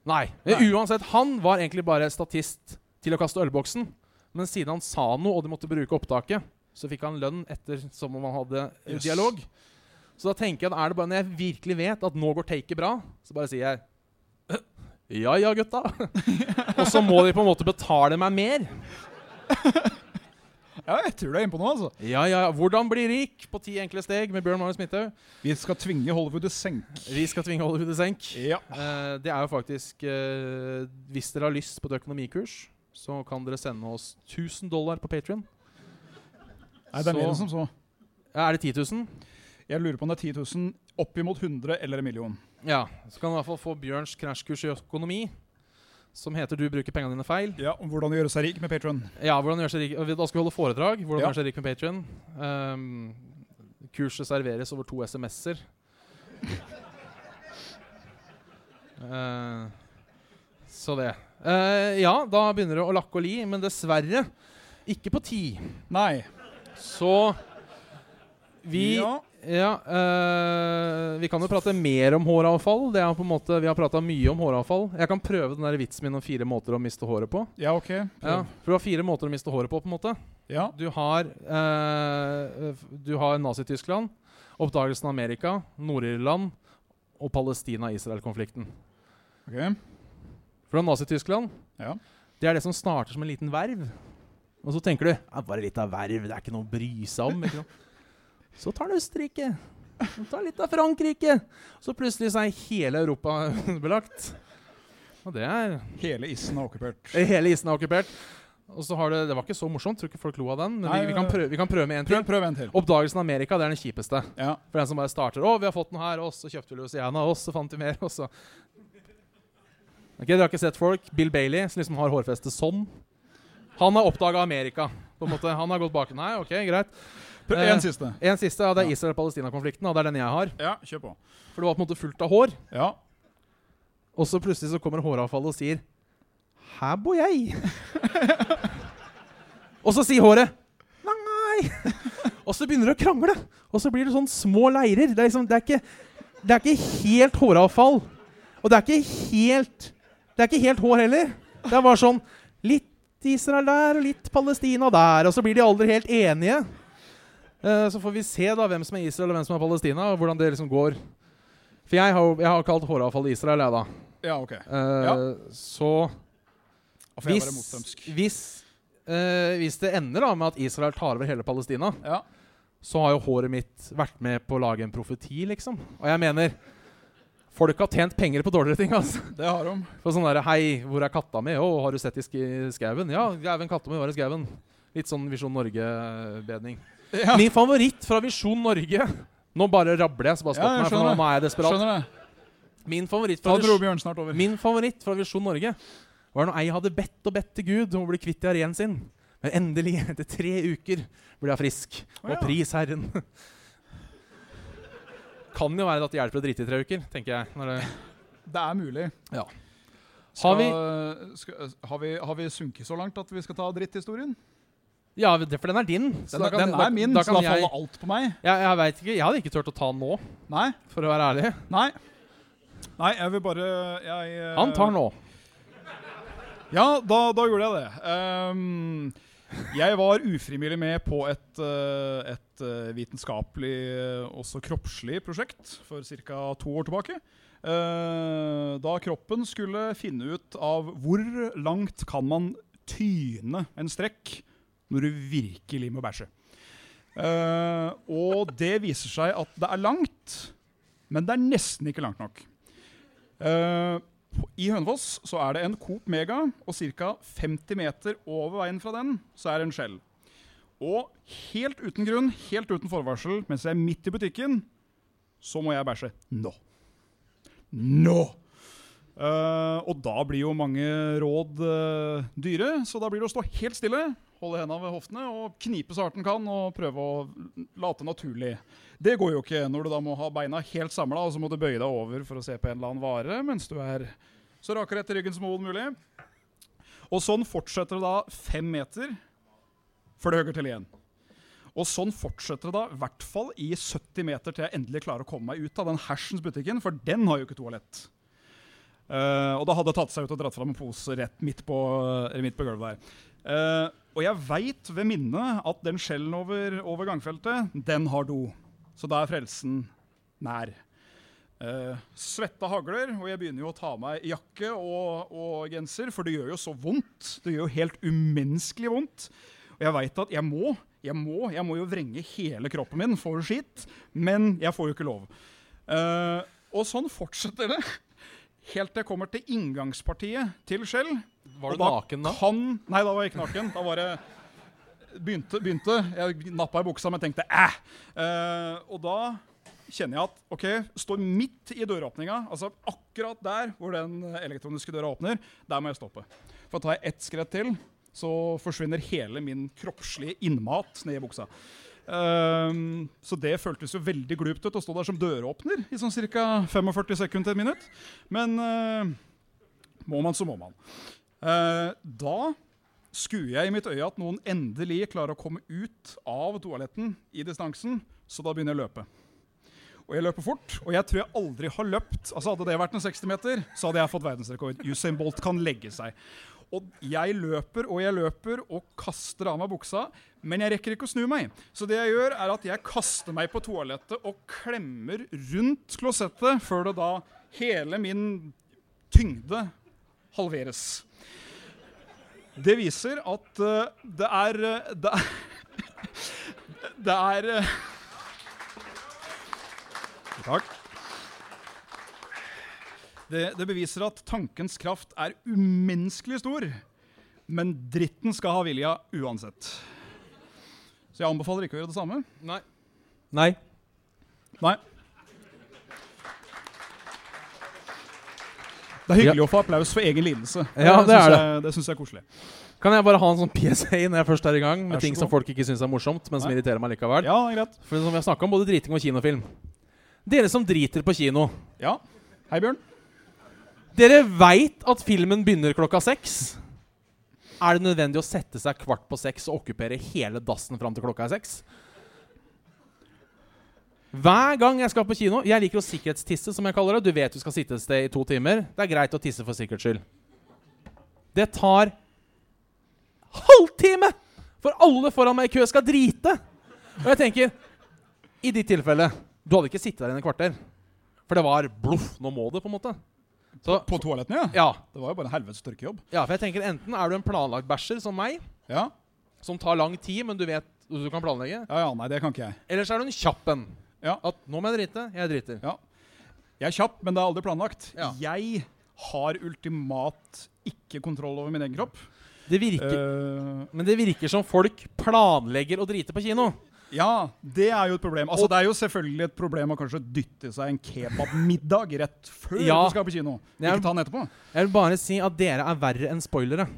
Speaker 3: Nei. Men
Speaker 4: Nei.
Speaker 3: Uansett, han var egentlig bare statist til å kaste ølboksen. Men siden han sa noe, og de måtte bruke opptaket, så fikk han lønn etter som om han hadde eh,
Speaker 4: Jøss.
Speaker 3: dialog. Så da tenker jeg at er det bare når jeg virkelig vet at nå går taket bra, så bare sier jeg [clears throat] ja ja, gutta. [laughs] og så må de på en måte betale meg mer.
Speaker 4: Ja, jeg tror du er inne på noe, altså.
Speaker 3: Ja, ja, ja. Hvordan bli rik på ti enkle steg med Bjørn Magnus Midthaug.
Speaker 4: Vi skal tvinge Hollywood til senk.
Speaker 3: Vi skal tvinge Hollywood i senk.
Speaker 4: Ja.
Speaker 3: Eh, det er jo faktisk eh, Hvis dere har lyst på et økonomikurs, så kan dere sende oss 1000 dollar på Patrion.
Speaker 4: Nei, det er
Speaker 3: Så-
Speaker 4: mer enn som så.
Speaker 3: Eh, Er det 10 000?
Speaker 4: Jeg lurer på om det er 10 000, oppimot 100 eller en million.
Speaker 3: Ja. Så kan du i hvert fall få Bjørns krasjkurs i økonomi, som heter 'Du bruker pengene dine feil'.
Speaker 4: Ja, om hvordan gjøre seg rik med Patron.
Speaker 3: Ja, hvordan gjør seg rik og vi- Da skal vi holde foredrag. Hvordan
Speaker 4: Ja.
Speaker 3: gjør seg rik med Patrion. Um, kurset serveres over to SMS-er. Eh, så det. Eh, ja, da begynner det å lakke og li, men dessverre ikke på ti.
Speaker 4: Nei.
Speaker 3: Så vi
Speaker 4: Ja.
Speaker 3: ja, eh, vi kan jo prate mer om håravfall. Det er på en måte, vi har prata mye om håravfall. Jeg kan prøve den der vitsen min om fire måter å miste håret på.
Speaker 4: ja, ok.
Speaker 3: Ja, for du har fire måter å miste håret på, på en måte.
Speaker 4: Ja.
Speaker 3: Du har, eh, du har Nazi-Tyskland, oppdagelsen av Amerika, Nord-Irland og Palestina-Israel-konflikten.
Speaker 4: ok.
Speaker 3: For da Nazi-Tyskland
Speaker 4: Ja.
Speaker 3: Det er det som starter som en liten verv. Og så tenker du ja, bare litt av verv, det er ikke noe å bry seg om. Ikke sant? Så tar du Østerrike. Så tar litt av Frankrike. Så plutselig så er hele Europa [laughs] belagt. Og det er
Speaker 4: Hele issen er okkupert.
Speaker 3: Hele isen er okkupert. Og så har du, Det var ikke så morsomt, tror ikke folk lo av den. Men
Speaker 4: Nei,
Speaker 3: vi, vi, kan
Speaker 4: nei, nei.
Speaker 3: prøve, vi kan prøve med en til.
Speaker 4: Prøv, prøv en til.
Speaker 3: Oppdagelsen av Amerika det er den kjipeste.
Speaker 4: Ja.
Speaker 3: For den som bare starter 'Å, vi har fått den her, og så kjøpte vi Louisiana, og så fant vi mer', og så Ok, Dere har ikke sett folk. Bill Bailey, som liksom har hårfeste sånn. Han har oppdaga Amerika. på en måte. Han har gått bak Nei, ok, greit.
Speaker 4: Prøv,
Speaker 3: Eh,
Speaker 4: en siste.
Speaker 3: En siste, ja, det er
Speaker 4: Ja.
Speaker 3: Israel-Palestina-konflikten, og det er den jeg har.
Speaker 4: Ja, kjør på.
Speaker 3: For det var på en måte fullt av hår.
Speaker 4: Ja.
Speaker 3: Og så plutselig så kommer håravfallet og sier Her bor jeg. og så sier håret Nei. [laughs] og så begynner det å krangle. Og så blir det sånn små leirer. Det er, liksom, det er, ikke, det er ikke helt håravfall. Og det er ikke helt Det er ikke helt hår heller. Det er bare sånn litt Israel der og litt Palestina der. Og så blir de aldri helt enige. Eh, Så får vi se da hvem som er Israel og hvem som er Palestina, og hvordan det liksom går. For jeg har, jo- jeg har kalt håravfallet Israel, jeg, da.
Speaker 4: Ja, OK.
Speaker 3: Eh, Så
Speaker 4: Og får jeg være
Speaker 3: hvis,
Speaker 4: motstrømsk.
Speaker 3: hvis, eh, hvis det ender da med at Israel tar over hele Palestina,
Speaker 4: Ja.
Speaker 3: så har jo håret mitt vært med på å lage en profeti, liksom. Og jeg mener Folk har tjent penger på dårligere ting. altså.
Speaker 4: Det har de.
Speaker 3: For sånn der, Hei, hvor er katta mi? Å, har du sett i sk- i skauen? Ja, gauen katta mi var i skauen. Litt sånn Visjon Norge-bedning.
Speaker 4: Ja,
Speaker 3: Min favoritt fra Visjon Norge Nå bare rabler jeg, så bare
Speaker 4: Ja,
Speaker 3: stopp
Speaker 4: jeg
Speaker 3: meg, for
Speaker 4: skjønner.
Speaker 3: nå- nå er jeg desperat.
Speaker 4: skjønner det.
Speaker 3: Min favoritt
Speaker 4: Da
Speaker 3: fra,
Speaker 4: dro
Speaker 3: Vis
Speaker 4: Bjørn snart over.
Speaker 3: min favoritt fra Visjon Norge var når ei hadde bedt og bedt til Gud om å bli kvitt diareen sin. Men endelig, etter tre uker, ble hun frisk.
Speaker 4: Å, ja.
Speaker 3: Og pris Herren. Kan jo være at det hjelper å drite i tre uker, tenker jeg. Når det
Speaker 4: Det er mulig.
Speaker 3: Ja.
Speaker 4: Skal,
Speaker 3: Har vi
Speaker 4: skal, har, vi, har vi sunket så langt at vi skal ta dritthistorien?
Speaker 3: Ja, det- for den er din. så
Speaker 4: Den,
Speaker 3: da kan-
Speaker 4: den
Speaker 3: da-
Speaker 4: er min,
Speaker 3: da
Speaker 4: så
Speaker 3: kan
Speaker 4: da faller
Speaker 3: jeg,
Speaker 4: alt på meg.
Speaker 3: jeg, jeg vet ikke. Jeg hadde ikke turt å ta den nå,
Speaker 4: Nei.
Speaker 3: for å være ærlig.
Speaker 4: Nei. Nei, jeg vil bare jeg, eh,
Speaker 3: Han tar nå.
Speaker 4: Ja, da, da gjorde jeg det. Ehm, jeg var ufrivillig med på et, eh, et eh, vitenskapelig, eh, også kroppslig prosjekt for ca. to år tilbake. Eh, da kroppen skulle finne ut av hvor langt kan man tyne en strekk når du virkelig må bæsje. Eh, og det viser seg at det er langt, men det er nesten ikke langt nok. Eh, på- I Hønefoss så er det en Coop Mega, og ca. 50 meter over veien fra den så er det en Shell. Og helt uten grunn, helt uten forvarsel, mens jeg er midt i butikken, så må jeg bæsje nå. Nå! Eh, og da blir jo mange råd eh, dyre, så da blir det å stå helt stille, holde hendene ved hoftene og knipe så hardt en kan og prøve å late naturlig. Det går jo ikke når du da må ha beina helt samla, og så må du bøye deg over for å se på en eller annen vare mens du er så rakere etter ryggen som overhodet mulig. Og sånn fortsetter det da fem meter før det hugger til igjen. Og sånn fortsetter det da i hvert fall i 70 meter til jeg endelig klarer å komme meg ut av den hersens butikken, for den har jo ikke toalett. Eh, og da hadde det tatt seg ut og dratt fram en pose rett midt på, eh, midt på gulvet der. Eh, og jeg veit ved minnet at den skjellen over, over gangfeltet, den har do. Så da er frelsen nær. Eh, svetta hagler, og jeg begynner jo å ta av meg jakke og, og genser, for det gjør jo så vondt. Det gjør jo helt umenneskelig vondt. Og jeg veit at jeg må, jeg må, jeg må jo vrenge hele kroppen min for skitt, men jeg får jo ikke lov. Eh, og sånn fortsetter det. [laughs] Helt til jeg kommer til inngangspartiet til Skjell.
Speaker 3: Var
Speaker 4: Og
Speaker 3: du naken da?
Speaker 4: Kan, nei, da var jeg ikke naken. Da var jeg begynte, begynte. Jeg nappa i buksa, men tenkte æh. Eh, og da kjenner jeg at OK, står midt i døråpninga, altså akkurat der hvor den elektroniske døra åpner, der må jeg stoppe. For tar jeg ett skritt til, så forsvinner hele min kroppslige innmat ned i buksa. Ehm, så det føltes jo veldig glupt ut å stå der som døråpner i sånn ca. 45 sekunder til et minutt. Men eh, må man, så må man. Eh, da skuer jeg i mitt øye at noen endelig klarer å komme ut av toaletten i distansen, så da begynner jeg å løpe. Og jeg løper fort, og jeg tror jeg aldri har løpt. Altså Hadde det vært en 60-meter, så hadde jeg fått verdensrekord. Usain Bolt kan legge seg. Og jeg løper og jeg løper og kaster av meg buksa, men jeg rekker ikke å snu meg. Så det jeg gjør, er at jeg kaster meg på toalettet og klemmer rundt klosettet før det da hele min tyngde halveres. Det viser at eh, det er eh, Det er, [laughs] det er eh, Takk. Det, det beviser at tankens kraft er umenneskelig stor, men dritten skal ha vilja uansett. Så jeg anbefaler ikke å gjøre det samme.
Speaker 3: Nei. Nei.
Speaker 4: Nei. Det er hyggelig å få applaus for egen lidelse.
Speaker 3: Ja, det
Speaker 4: syns
Speaker 3: er det.
Speaker 4: jeg- Det syns jeg er koselig.
Speaker 3: Kan jeg bare ha en sånn PSA når jeg først er i gang
Speaker 4: Vær
Speaker 3: med
Speaker 4: så
Speaker 3: ting som
Speaker 4: god.
Speaker 3: folk ikke syns er morsomt, men som
Speaker 4: Nei.
Speaker 3: irriterer meg likevel?
Speaker 4: Ja, det er greit.
Speaker 3: For som vi har snakket om, både driting og kinofilm. Dere som driter på kino,
Speaker 4: Ja. Hei, Bjørn.
Speaker 3: dere veit at filmen begynner klokka seks. Er det nødvendig å sette seg kvart på seks og okkupere hele dassen fram til klokka er seks? Hver gang jeg skal på kino Jeg liker å sikkerhetstisse, som jeg kaller det. Du vet du skal sitte et sted i to timer. Det er greit å tisse for sikkerhets skyld. Det tar halvtime! For alle foran meg i kø skal drite! Og jeg tenker I ditt tilfelle Du hadde ikke sittet der i et kvarter. For det var bluff. Nå må det, på en måte. Så,
Speaker 4: På toalettene, ja.
Speaker 3: ja,
Speaker 4: Det var jo bare en helvetes tørkejobb.
Speaker 3: ja, for jeg tenker enten er du en planlagt bæsjer som meg,
Speaker 4: Ja.
Speaker 3: som tar lang tid, men du vet du kan planlegge.
Speaker 4: ja, ja, nei, det kan ikke jeg.
Speaker 3: Eller så er du en kjapp en.
Speaker 4: Ja.
Speaker 3: At 'nå må jeg drite', jeg driter.
Speaker 4: Ja. Jeg er kjapp, men det er aldri planlagt.
Speaker 3: Ja.
Speaker 4: Jeg har ultimat ikke kontroll over min egen kropp.
Speaker 3: Det virker,
Speaker 4: Eh,
Speaker 3: Men det virker som folk planlegger å drite på kino.
Speaker 4: ja, det er jo et problem. Altså, det er jo selvfølgelig et problem å kanskje dytte seg en kebabmiddag rett før
Speaker 3: Ja.
Speaker 4: du skal på kino.
Speaker 3: Ja.
Speaker 4: Ikke ta den etterpå.
Speaker 3: Jeg vil bare si at dere er verre enn spoilere.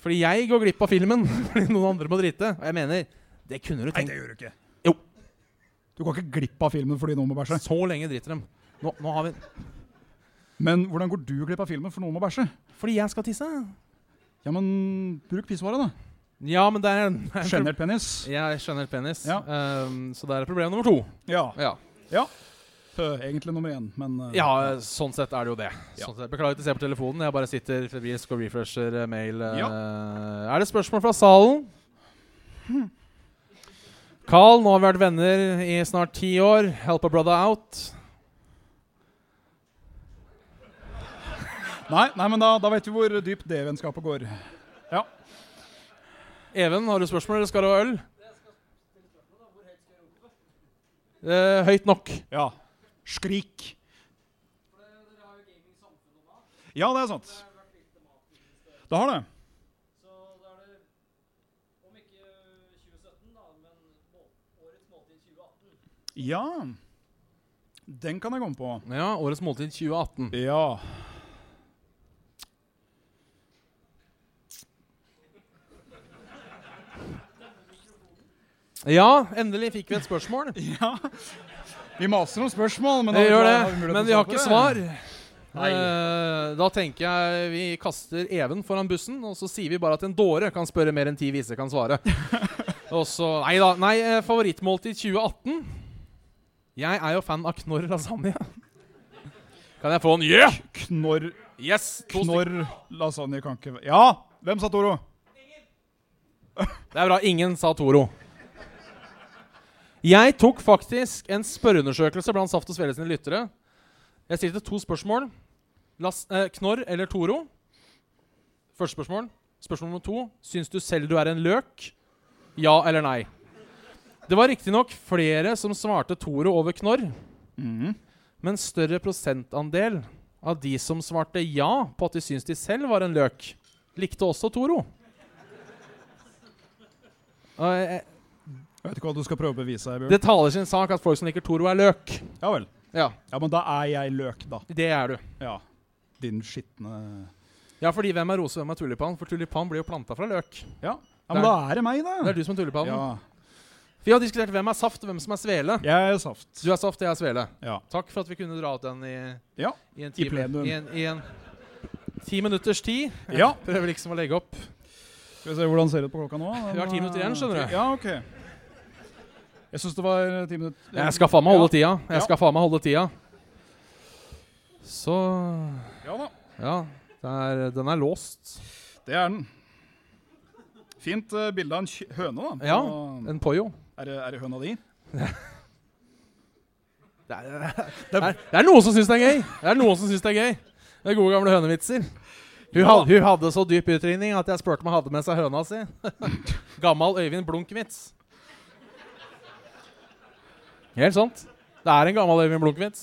Speaker 3: Fordi jeg går glipp av filmen [laughs] fordi noen andre må drite. Og jeg mener, det kunne du
Speaker 4: Nei, det
Speaker 3: tenkt.
Speaker 4: gjør du ikke.
Speaker 3: Jo.
Speaker 4: Du går ikke glipp av filmen fordi noen må bæsje.
Speaker 3: Så lenge driter dem. Nå, nå har vi
Speaker 4: Men hvordan går du glipp av filmen for noen må bæsje?
Speaker 3: Fordi jeg skal tisse.
Speaker 4: Ja, men bruk pissoaret, [laughs] da.
Speaker 3: Ja, men det er det er en
Speaker 4: Skjønner penis.
Speaker 3: Jeg skjønner penis.
Speaker 4: Ja.
Speaker 3: Ehm, så det er problem nummer to.
Speaker 4: Ja.
Speaker 3: Ja.
Speaker 4: øh, Egentlig nummer én, men øh,
Speaker 3: ja, sånn sett er det jo det. Sånn sett. Beklager at jeg ser på telefonen. Jeg bare sitter febrilsk og refresher eh, mail. eh. Er det spørsmål fra salen? Carl, nå har vi vært venner i snart ti år. Help a brother out.
Speaker 4: Nei, nei, men da, da vet vi hvor dypt det vennskapet går.
Speaker 3: Even, har du spørsmål, eller skal du ha øl? Eh, høyt nok.
Speaker 4: Ja. Skrik. Ja, det er sant. Det har det. Ja. Den kan jeg komme på.
Speaker 3: Ja, Årets måltid 2018.
Speaker 4: Ja.
Speaker 3: Ja, endelig fikk vi et spørsmål.
Speaker 4: ja. Vi maser om spørsmål, men
Speaker 3: Vi
Speaker 4: da-
Speaker 3: gjør
Speaker 4: da
Speaker 3: det,
Speaker 4: mulighet
Speaker 3: men
Speaker 4: til
Speaker 3: vi
Speaker 4: å
Speaker 3: har
Speaker 4: svare
Speaker 3: ikke
Speaker 4: på
Speaker 3: svar.
Speaker 4: det.
Speaker 3: Eh, da tenker jeg vi kaster Even foran bussen, og så sier vi bare at en dåre kan spørre mer enn ti vise kan [laughs] svare. og så Nei da. Nei, eh, favorittmåltid 2018? Jeg er jo fan av knorr lasagne. Kan jeg få en yeah?
Speaker 4: Knorr,
Speaker 3: Yes! To stykker.
Speaker 4: knorr lasagne kan ikke Ja! Hvem sa Toro?
Speaker 3: Det er bra. Ingen sa Toro. Jeg tok faktisk en spørreundersøkelse blant Saft og Svele sine lyttere. Jeg stilte to spørsmål. Las, eh, knorr eller Toro? Første spørsmål. Spørsmål nummer to. Syns du selv du er en løk? Ja eller nei? Det var riktignok flere som svarte Toro over Knorr,
Speaker 4: Mhm.
Speaker 3: men større prosentandel av de som svarte ja på at de syns de selv var en løk, likte også Toro. Og jeg,
Speaker 4: Jeg vet ikke hva du skal prøve å bevise her, Bjørn.
Speaker 3: det taler sin sak at folk som liker Toro, er løk.
Speaker 4: Ja vel.
Speaker 3: Ja,
Speaker 4: Ja, men da er jeg løk, da.
Speaker 3: det er du.
Speaker 4: Ja. Din skitne
Speaker 3: Ja, fordi hvem er rose, hvem er tulipan? For tulipan blir jo planta fra løk.
Speaker 4: Ja. ja men
Speaker 3: Der.
Speaker 4: da er det meg,
Speaker 3: Det
Speaker 4: da.
Speaker 3: er du som er tulipanen.
Speaker 4: Ja.
Speaker 3: Vi har diskutert hvem er saft, og hvem som er svele.
Speaker 4: Jeg er saft.
Speaker 3: Du er saft, jeg er svele.
Speaker 4: Ja.
Speaker 3: Takk for at vi kunne dra ut den i,
Speaker 4: Ja,
Speaker 3: i en time.
Speaker 4: plenum.
Speaker 3: I en, i en ti minutters tid.
Speaker 4: Ja.
Speaker 3: Prøver liksom å legge opp.
Speaker 4: Skal vi se hvordan ser det ut på klokka nå?
Speaker 3: Vi har ti minutter igjen, skjønner du.
Speaker 4: Ja, ok. Jeg syns det var ti minutter
Speaker 3: Jeg skal faen meg holde tida.
Speaker 4: Ja.
Speaker 3: Jeg skal faen meg holde tida. Så
Speaker 4: Ja da,
Speaker 3: Ja. Det er, den er låst.
Speaker 4: det er den. Fint eh, bilde av en kj- høne, da.
Speaker 3: Ja.
Speaker 4: Og-
Speaker 3: En pollo.
Speaker 4: Er, det, er det høna di?
Speaker 3: Det er, [laughs] det, er, det er noen som syns det er gøy. Det er noen som synes det er gøy. Det er gode gamle hønevitser. Hun, had, hun hadde så dyp utringning at jeg spurte om hun hadde med seg høna si. [laughs] Gammal Øyvind Blunk-vits. Helt sant. Det er en gammel Øyvind Blunk-vits.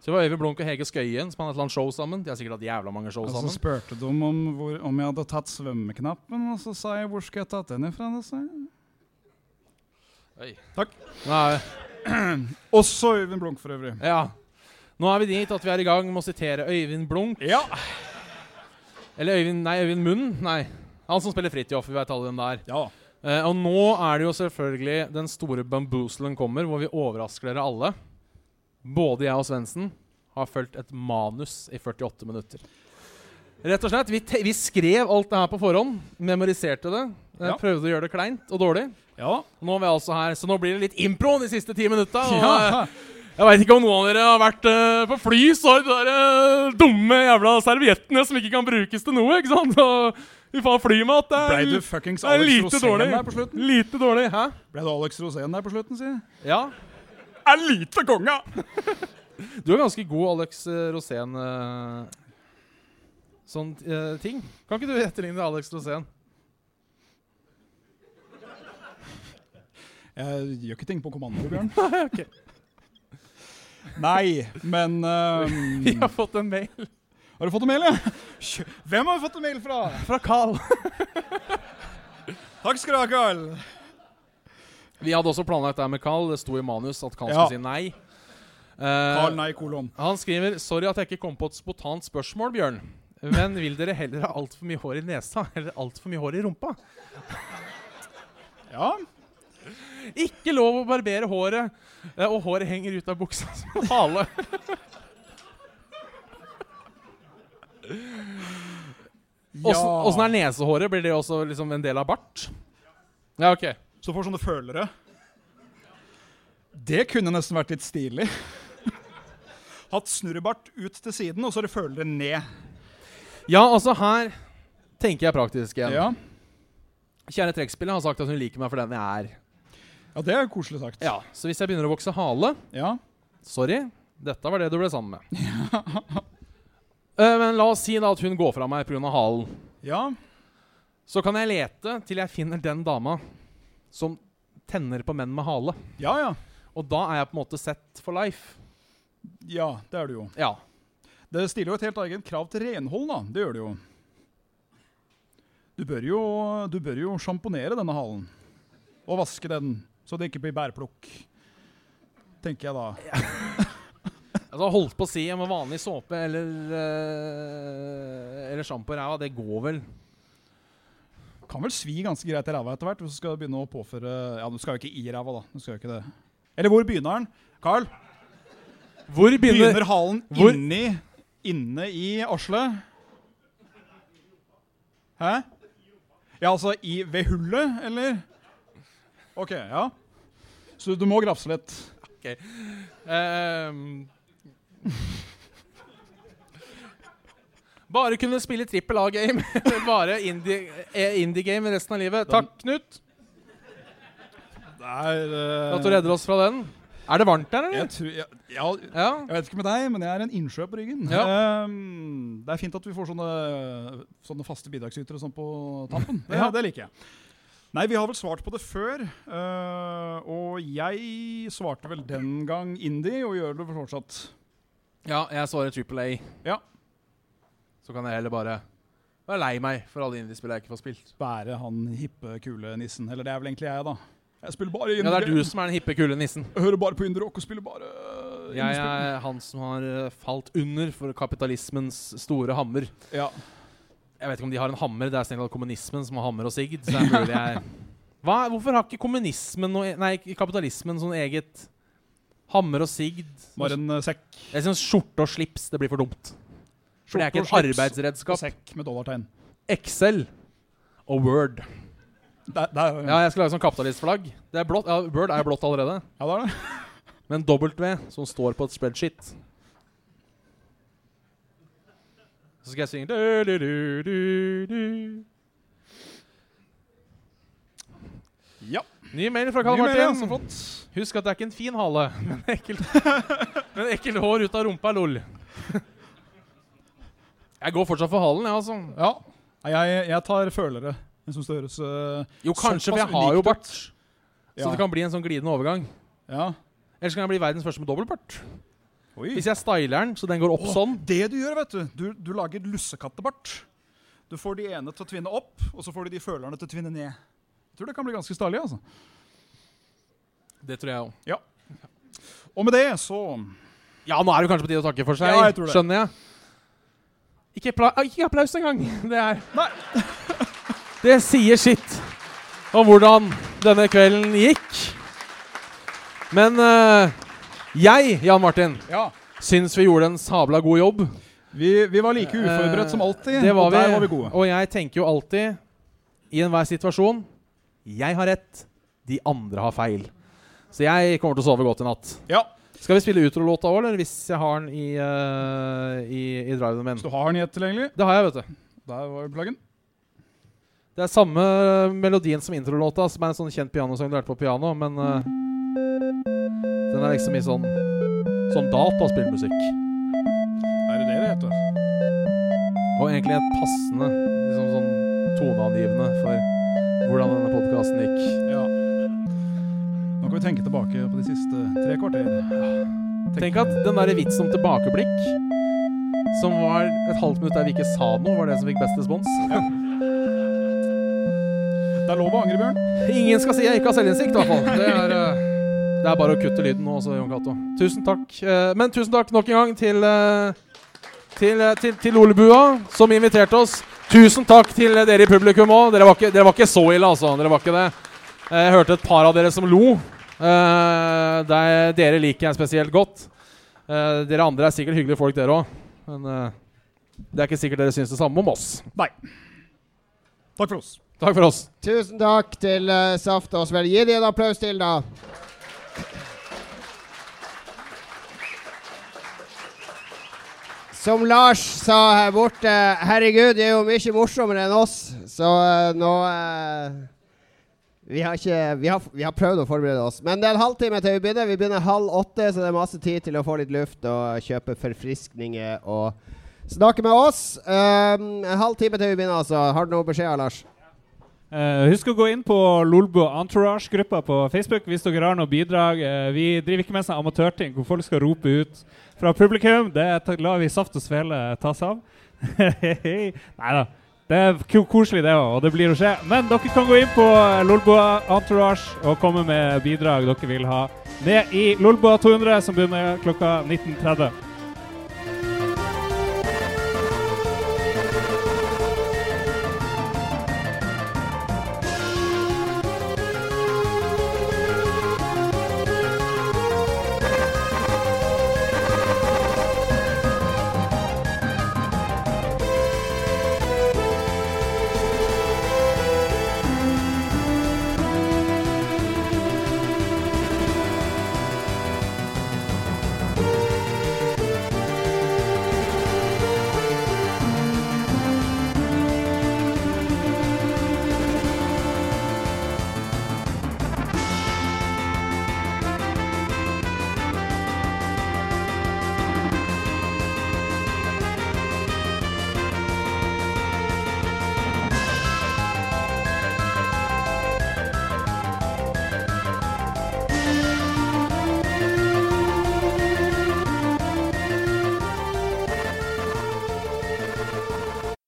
Speaker 3: Så det var Øyvind Blunk og Hege Skøyen som hadde et eller annet show sammen. De har sikkert hatt jævla mange show
Speaker 4: Og så
Speaker 3: sammen.
Speaker 4: spurte de om, hvor, om jeg hadde tatt svømmeknappen, og så sa jeg 'hvor skal jeg tatt den ifra'? da, sa jeg.
Speaker 3: Nei,
Speaker 4: Også Øyvind Blunk, for øvrig.
Speaker 3: ja. Nå er vi dit at vi er i gang med å sitere Øyvind Blunk.
Speaker 4: Ja.
Speaker 3: Eller Øyvind, nei, Øyvind Munn. Nei. Han som spiller Fridtjof. Vi veit alle hvem det er.
Speaker 4: ja.
Speaker 3: Eh, og nå er det jo selvfølgelig den store bamboozlen kommer, hvor vi overrasker dere alle. Både jeg og Svendsen har fulgt et manus i 48 minutter. Rett og slett, Vi, te vi skrev alt det her på forhånd, memoriserte det. eh,
Speaker 4: Ja.
Speaker 3: Prøvde å gjøre det kleint og dårlig.
Speaker 4: Ja.
Speaker 3: Nå er vi altså her, Så nå blir det litt impro de siste ti minutta. Og, eh,
Speaker 4: ja.
Speaker 3: Jeg veit ikke om noen av dere har vært eh, på fly, så har de der eh, dumme jævla serviettene som ikke kan brukes til noe. ikke sant? Og vi faen flymat. Det er
Speaker 4: Blei du fuckings
Speaker 3: det er
Speaker 4: Alex
Speaker 3: lite
Speaker 4: Rosén
Speaker 3: dårlig.
Speaker 4: der på slutten?
Speaker 3: Lite dårlig, hæ?
Speaker 4: Ble det Alex Rosén der på slutten, si?
Speaker 3: Ja.
Speaker 4: Er lite konga!
Speaker 3: Du er ganske god, Alex eh, Rosén. eh, Sånn eh, ting. Kan ikke du etterligne Alex [laughs] Rosén?
Speaker 4: Jeg gjør ikke ting på kommando, [laughs] Bjørn. Nei, men [laughs]
Speaker 3: Vi
Speaker 4: ehm,
Speaker 3: har fått en mail.
Speaker 4: Har du fått en mail, ja? Kjø- Hvem har vi fått en mail fra?
Speaker 3: Fra Carl.
Speaker 4: [laughs] Takk skal du ha, Carl.
Speaker 3: Vi hadde også planlagt det her med Carl. Det sto i manus at Carl
Speaker 4: Ja.
Speaker 3: skulle si nei. Eh,
Speaker 4: Carl, nei, kolon.
Speaker 3: Han skriver Sorry at jeg ikke kom på et spontant spørsmål, Bjørn. Men vil dere heller ha altfor mye hår i nesa eller altfor mye hår i rumpa?
Speaker 4: Ja,
Speaker 3: Ikke lov å barbere håret, eh, og håret henger ut av buksa som en hale. Åssen åssen er nesehåret? Blir det også liksom en del av bart? Ja, OK.
Speaker 4: Så får sånne følere. Det kunne nesten vært litt stilig. [laughs] Hatt snurrebart ut til siden, og så er det følere ned.
Speaker 3: Ja, altså, her tenker jeg praktisk igjen.
Speaker 4: Ja.
Speaker 3: Kjære trekkspiller har sagt at hun liker meg for den jeg er.
Speaker 4: ja, det er koselig sagt.
Speaker 3: Ja, Så hvis jeg begynner å vokse hale
Speaker 4: Ja.
Speaker 3: Sorry, dette var det du ble sammen med. Eh, men la oss si da at hun går fra meg pga. halen.
Speaker 4: Ja.
Speaker 3: Så kan jeg lete til jeg finner den dama som tenner på menn med hale.
Speaker 4: ja, ja.
Speaker 3: Og da er jeg på en måte set for life.
Speaker 4: Ja, det er det jo.
Speaker 3: Ja.
Speaker 4: Det stiller jo et helt eget krav til renhold, da. Det gjør det jo. Du bør jo, du bør jo sjamponere denne halen. Og vaske den, så det ikke blir bærplukk. Tenker jeg da.
Speaker 3: Altså Holdt på å si med vanlig såpe eller uh, Eller sjampo i ræva, det går vel.
Speaker 4: Kan vel svi ganske greit i ræva etter hvert, hvis du skal begynne å påføre Ja, du skal jo ikke i ræva, da. Du skal jo ikke det. Eller hvor begynner den? Carl,
Speaker 3: Hvor begynner
Speaker 4: begynner halen
Speaker 3: hvor-
Speaker 4: inni Inne i arslet? Hæ? Ja, altså i ved hullet, eller? OK, ja. Så du må grafse litt.
Speaker 3: Ehm. Bare kunne spille trippel A-game. [laughs] Bare indie- eh, indie-game resten av livet. Takk, Knut,
Speaker 4: Det er eh,
Speaker 3: for at du redder oss fra den. Er det varmt der,
Speaker 4: jeg,
Speaker 3: eller?
Speaker 4: tror, jeg, ja,
Speaker 3: Ja.
Speaker 4: jeg vet ikke med deg, men jeg er en innsjø på ryggen.
Speaker 3: Ja.
Speaker 4: Ehm, det er fint at vi får sånne, sånne faste bidragsytere sånn på tampen. Det,
Speaker 3: Ja.
Speaker 4: det liker jeg. Nei, vi har vel svart på det før. eh, og jeg svarte vel den gang indie, og gjør det vel fortsatt.
Speaker 3: ja, jeg svarer trippel A.
Speaker 4: Ja.
Speaker 3: Så kan jeg heller bare være lei meg for alle indiespill jeg ikke får spilt.
Speaker 4: Bære han hippe, kule nissen. Eller det er vel egentlig jeg, da. Jeg spiller bare
Speaker 3: Ja, det er
Speaker 4: indie.
Speaker 3: du som er den hippe, kule nissen.
Speaker 4: Jeg hører bare på indie-rock og spiller bare
Speaker 3: Jeg
Speaker 4: indiespill.
Speaker 3: er han som har eh, falt under for kapitalismens store hammer.
Speaker 4: Ja.
Speaker 3: Jeg vet ikke om de har en hammer. Det er strengt tatt kommunismen som har hammer og sigd. Så det er mulig jeg Hva, Hvorfor har ikke kommunismen noe e- Nei, ikke kapitalismen sånn eget hammer og sigd?
Speaker 4: Bare en eh, sekk.
Speaker 3: Jeg syns skjorte og slips det blir for dumt. For det er ikke et
Speaker 4: Skjorte og slips og
Speaker 3: arbeidsredskap.
Speaker 4: Sekk med dollartegn.
Speaker 3: Excel og Word.
Speaker 4: Det, det er,
Speaker 3: Ja, jeg skal lage sånn kapitalistflagg. Det er blått. Ja, Word er blått allerede.
Speaker 4: ja, det er det.
Speaker 3: Men W, som står på et spreadsheet Så skal jeg synge du, du, du, du, du.
Speaker 4: Ja.
Speaker 3: Ny mail fra Karl
Speaker 4: Mye mer, ja,
Speaker 3: Martin.
Speaker 4: så flott.
Speaker 3: Husk at det er ikke en fin hale, [laughs] men ekkelt, men ekkelt hår ut av rumpa, lol. Jeg går fortsatt for halen, jeg, altså.
Speaker 4: Ja. Nei, Jeg, jeg tar følere. Jeg syns det høres øh,
Speaker 3: Jo, kanskje, for jeg
Speaker 4: Såpass
Speaker 3: har jo
Speaker 4: unikt
Speaker 3: bart.
Speaker 4: ut.
Speaker 3: Så det kan bli en sånn glidende overgang.
Speaker 4: ja.
Speaker 3: Ellers kan jeg bli verdens første med dobbeltbart.
Speaker 4: Oi.
Speaker 3: Hvis jeg styler den, så den går opp
Speaker 4: Åh,
Speaker 3: sånn.
Speaker 4: Det du gjør, vet du, du, du lager lussekattebart. Du får de ene til å tvinne opp, og så får du de følerne til å tvinne ned. Jeg tror det kan bli ganske stilig, altså.
Speaker 3: Det tror jeg òg.
Speaker 4: Og med det så
Speaker 3: Ja, nå er det kanskje på tide å takke for seg.
Speaker 4: Ja, jeg tror det.
Speaker 3: Skjønner jeg. Ikke, pla ah, ikke applaus engang. Det er
Speaker 4: Nei.
Speaker 3: [laughs] Det sier sitt om hvordan denne kvelden gikk. Men eh, jeg, Jan Martin,
Speaker 4: Ja.
Speaker 3: syns vi gjorde en sabla god jobb. Eh,
Speaker 4: Vi, vi var like uforberedt som alltid,
Speaker 3: Det var
Speaker 4: og der
Speaker 3: vi,
Speaker 4: Eh, var vi gode.
Speaker 3: Og jeg tenker jo alltid, i enhver situasjon Jeg har rett, de andre har feil. Så jeg kommer til å sove godt i natt.
Speaker 4: Ja.
Speaker 3: Skal vi spille utrolåta òg, eller hvis jeg har den i, eh, i, i driven min?
Speaker 4: Så du har den gjett tilgjengelig.
Speaker 3: Det har jeg, vet du.
Speaker 4: Der var plaggen.
Speaker 3: Det er samme melodien som introlåta, som er en sånn kjent pianosang du lærte på piano, men eh, Den er liksom i sånn som dataspillmusikk.
Speaker 4: Er det det det heter?
Speaker 3: Og egentlig et passende, liksom sånn toneangivende for hvordan denne podkasten gikk.
Speaker 4: Ja. Nå kan vi tenke tilbake på de siste tre kvarter.
Speaker 3: Tenk at den der vitsen om tilbakeblikk, som var et halvt minutt der vi ikke sa noe, var det som fikk best respons.
Speaker 4: Det er lov å angre, Bjørn.
Speaker 3: Ingen skal si jeg ikke har selvinnsikt, i hvert fall. Det er, eh, det er bare å kutte lyden nå også, Jon Cato. Tusen takk. Eh, Men tusen takk nok en gang til, eh, til, eh, til, til Olebua, som inviterte oss. Tusen takk til eh, dere i publikum òg. Dere, var ikke- dere var ikke så ille, altså. Dere var ikke det. Eh, Jeg hørte et par av dere som lo. Eh, det- dere liker jeg spesielt godt. Eh, dere andre er sikkert hyggelige folk, dere òg. Men eh, det er ikke sikkert dere syns det samme om oss.
Speaker 4: Takk for oss.
Speaker 3: Takk for oss.
Speaker 6: Tusen takk til eh, Saft og Svelg. Gi dem en applaus til, da. Som Lars sa her borte, herregud, det er jo mye morsommere enn oss, så eh, nå eh, vi har, ikke, vi, har, vi har prøvd å forberede oss, men det er en halvtime til vi begynner. Vi begynner halv åtte, så det er masse tid til å få litt luft og kjøpe forfriskninger og snakke med oss. Um, en halvtime til vi begynner, altså. Har du noen beskjeder, Lars?
Speaker 1: Eh, husk å gå inn på Lolbo Entourage-gruppa på Facebook hvis dere har noe bidrag. Eh, vi driver ikke med sånne amatørting hvor folk skal rope ut fra publikum. Det ta- lar vi Saft og Svele ta seg av. [laughs] Nei da. Det er ko- koselig, det òg, og det blir å skje. Men dere kan gå inn på eh, Lolboa Entourage og komme med bidrag dere vil ha. Ned i Lolboa 200, som begynner klokka 19.30.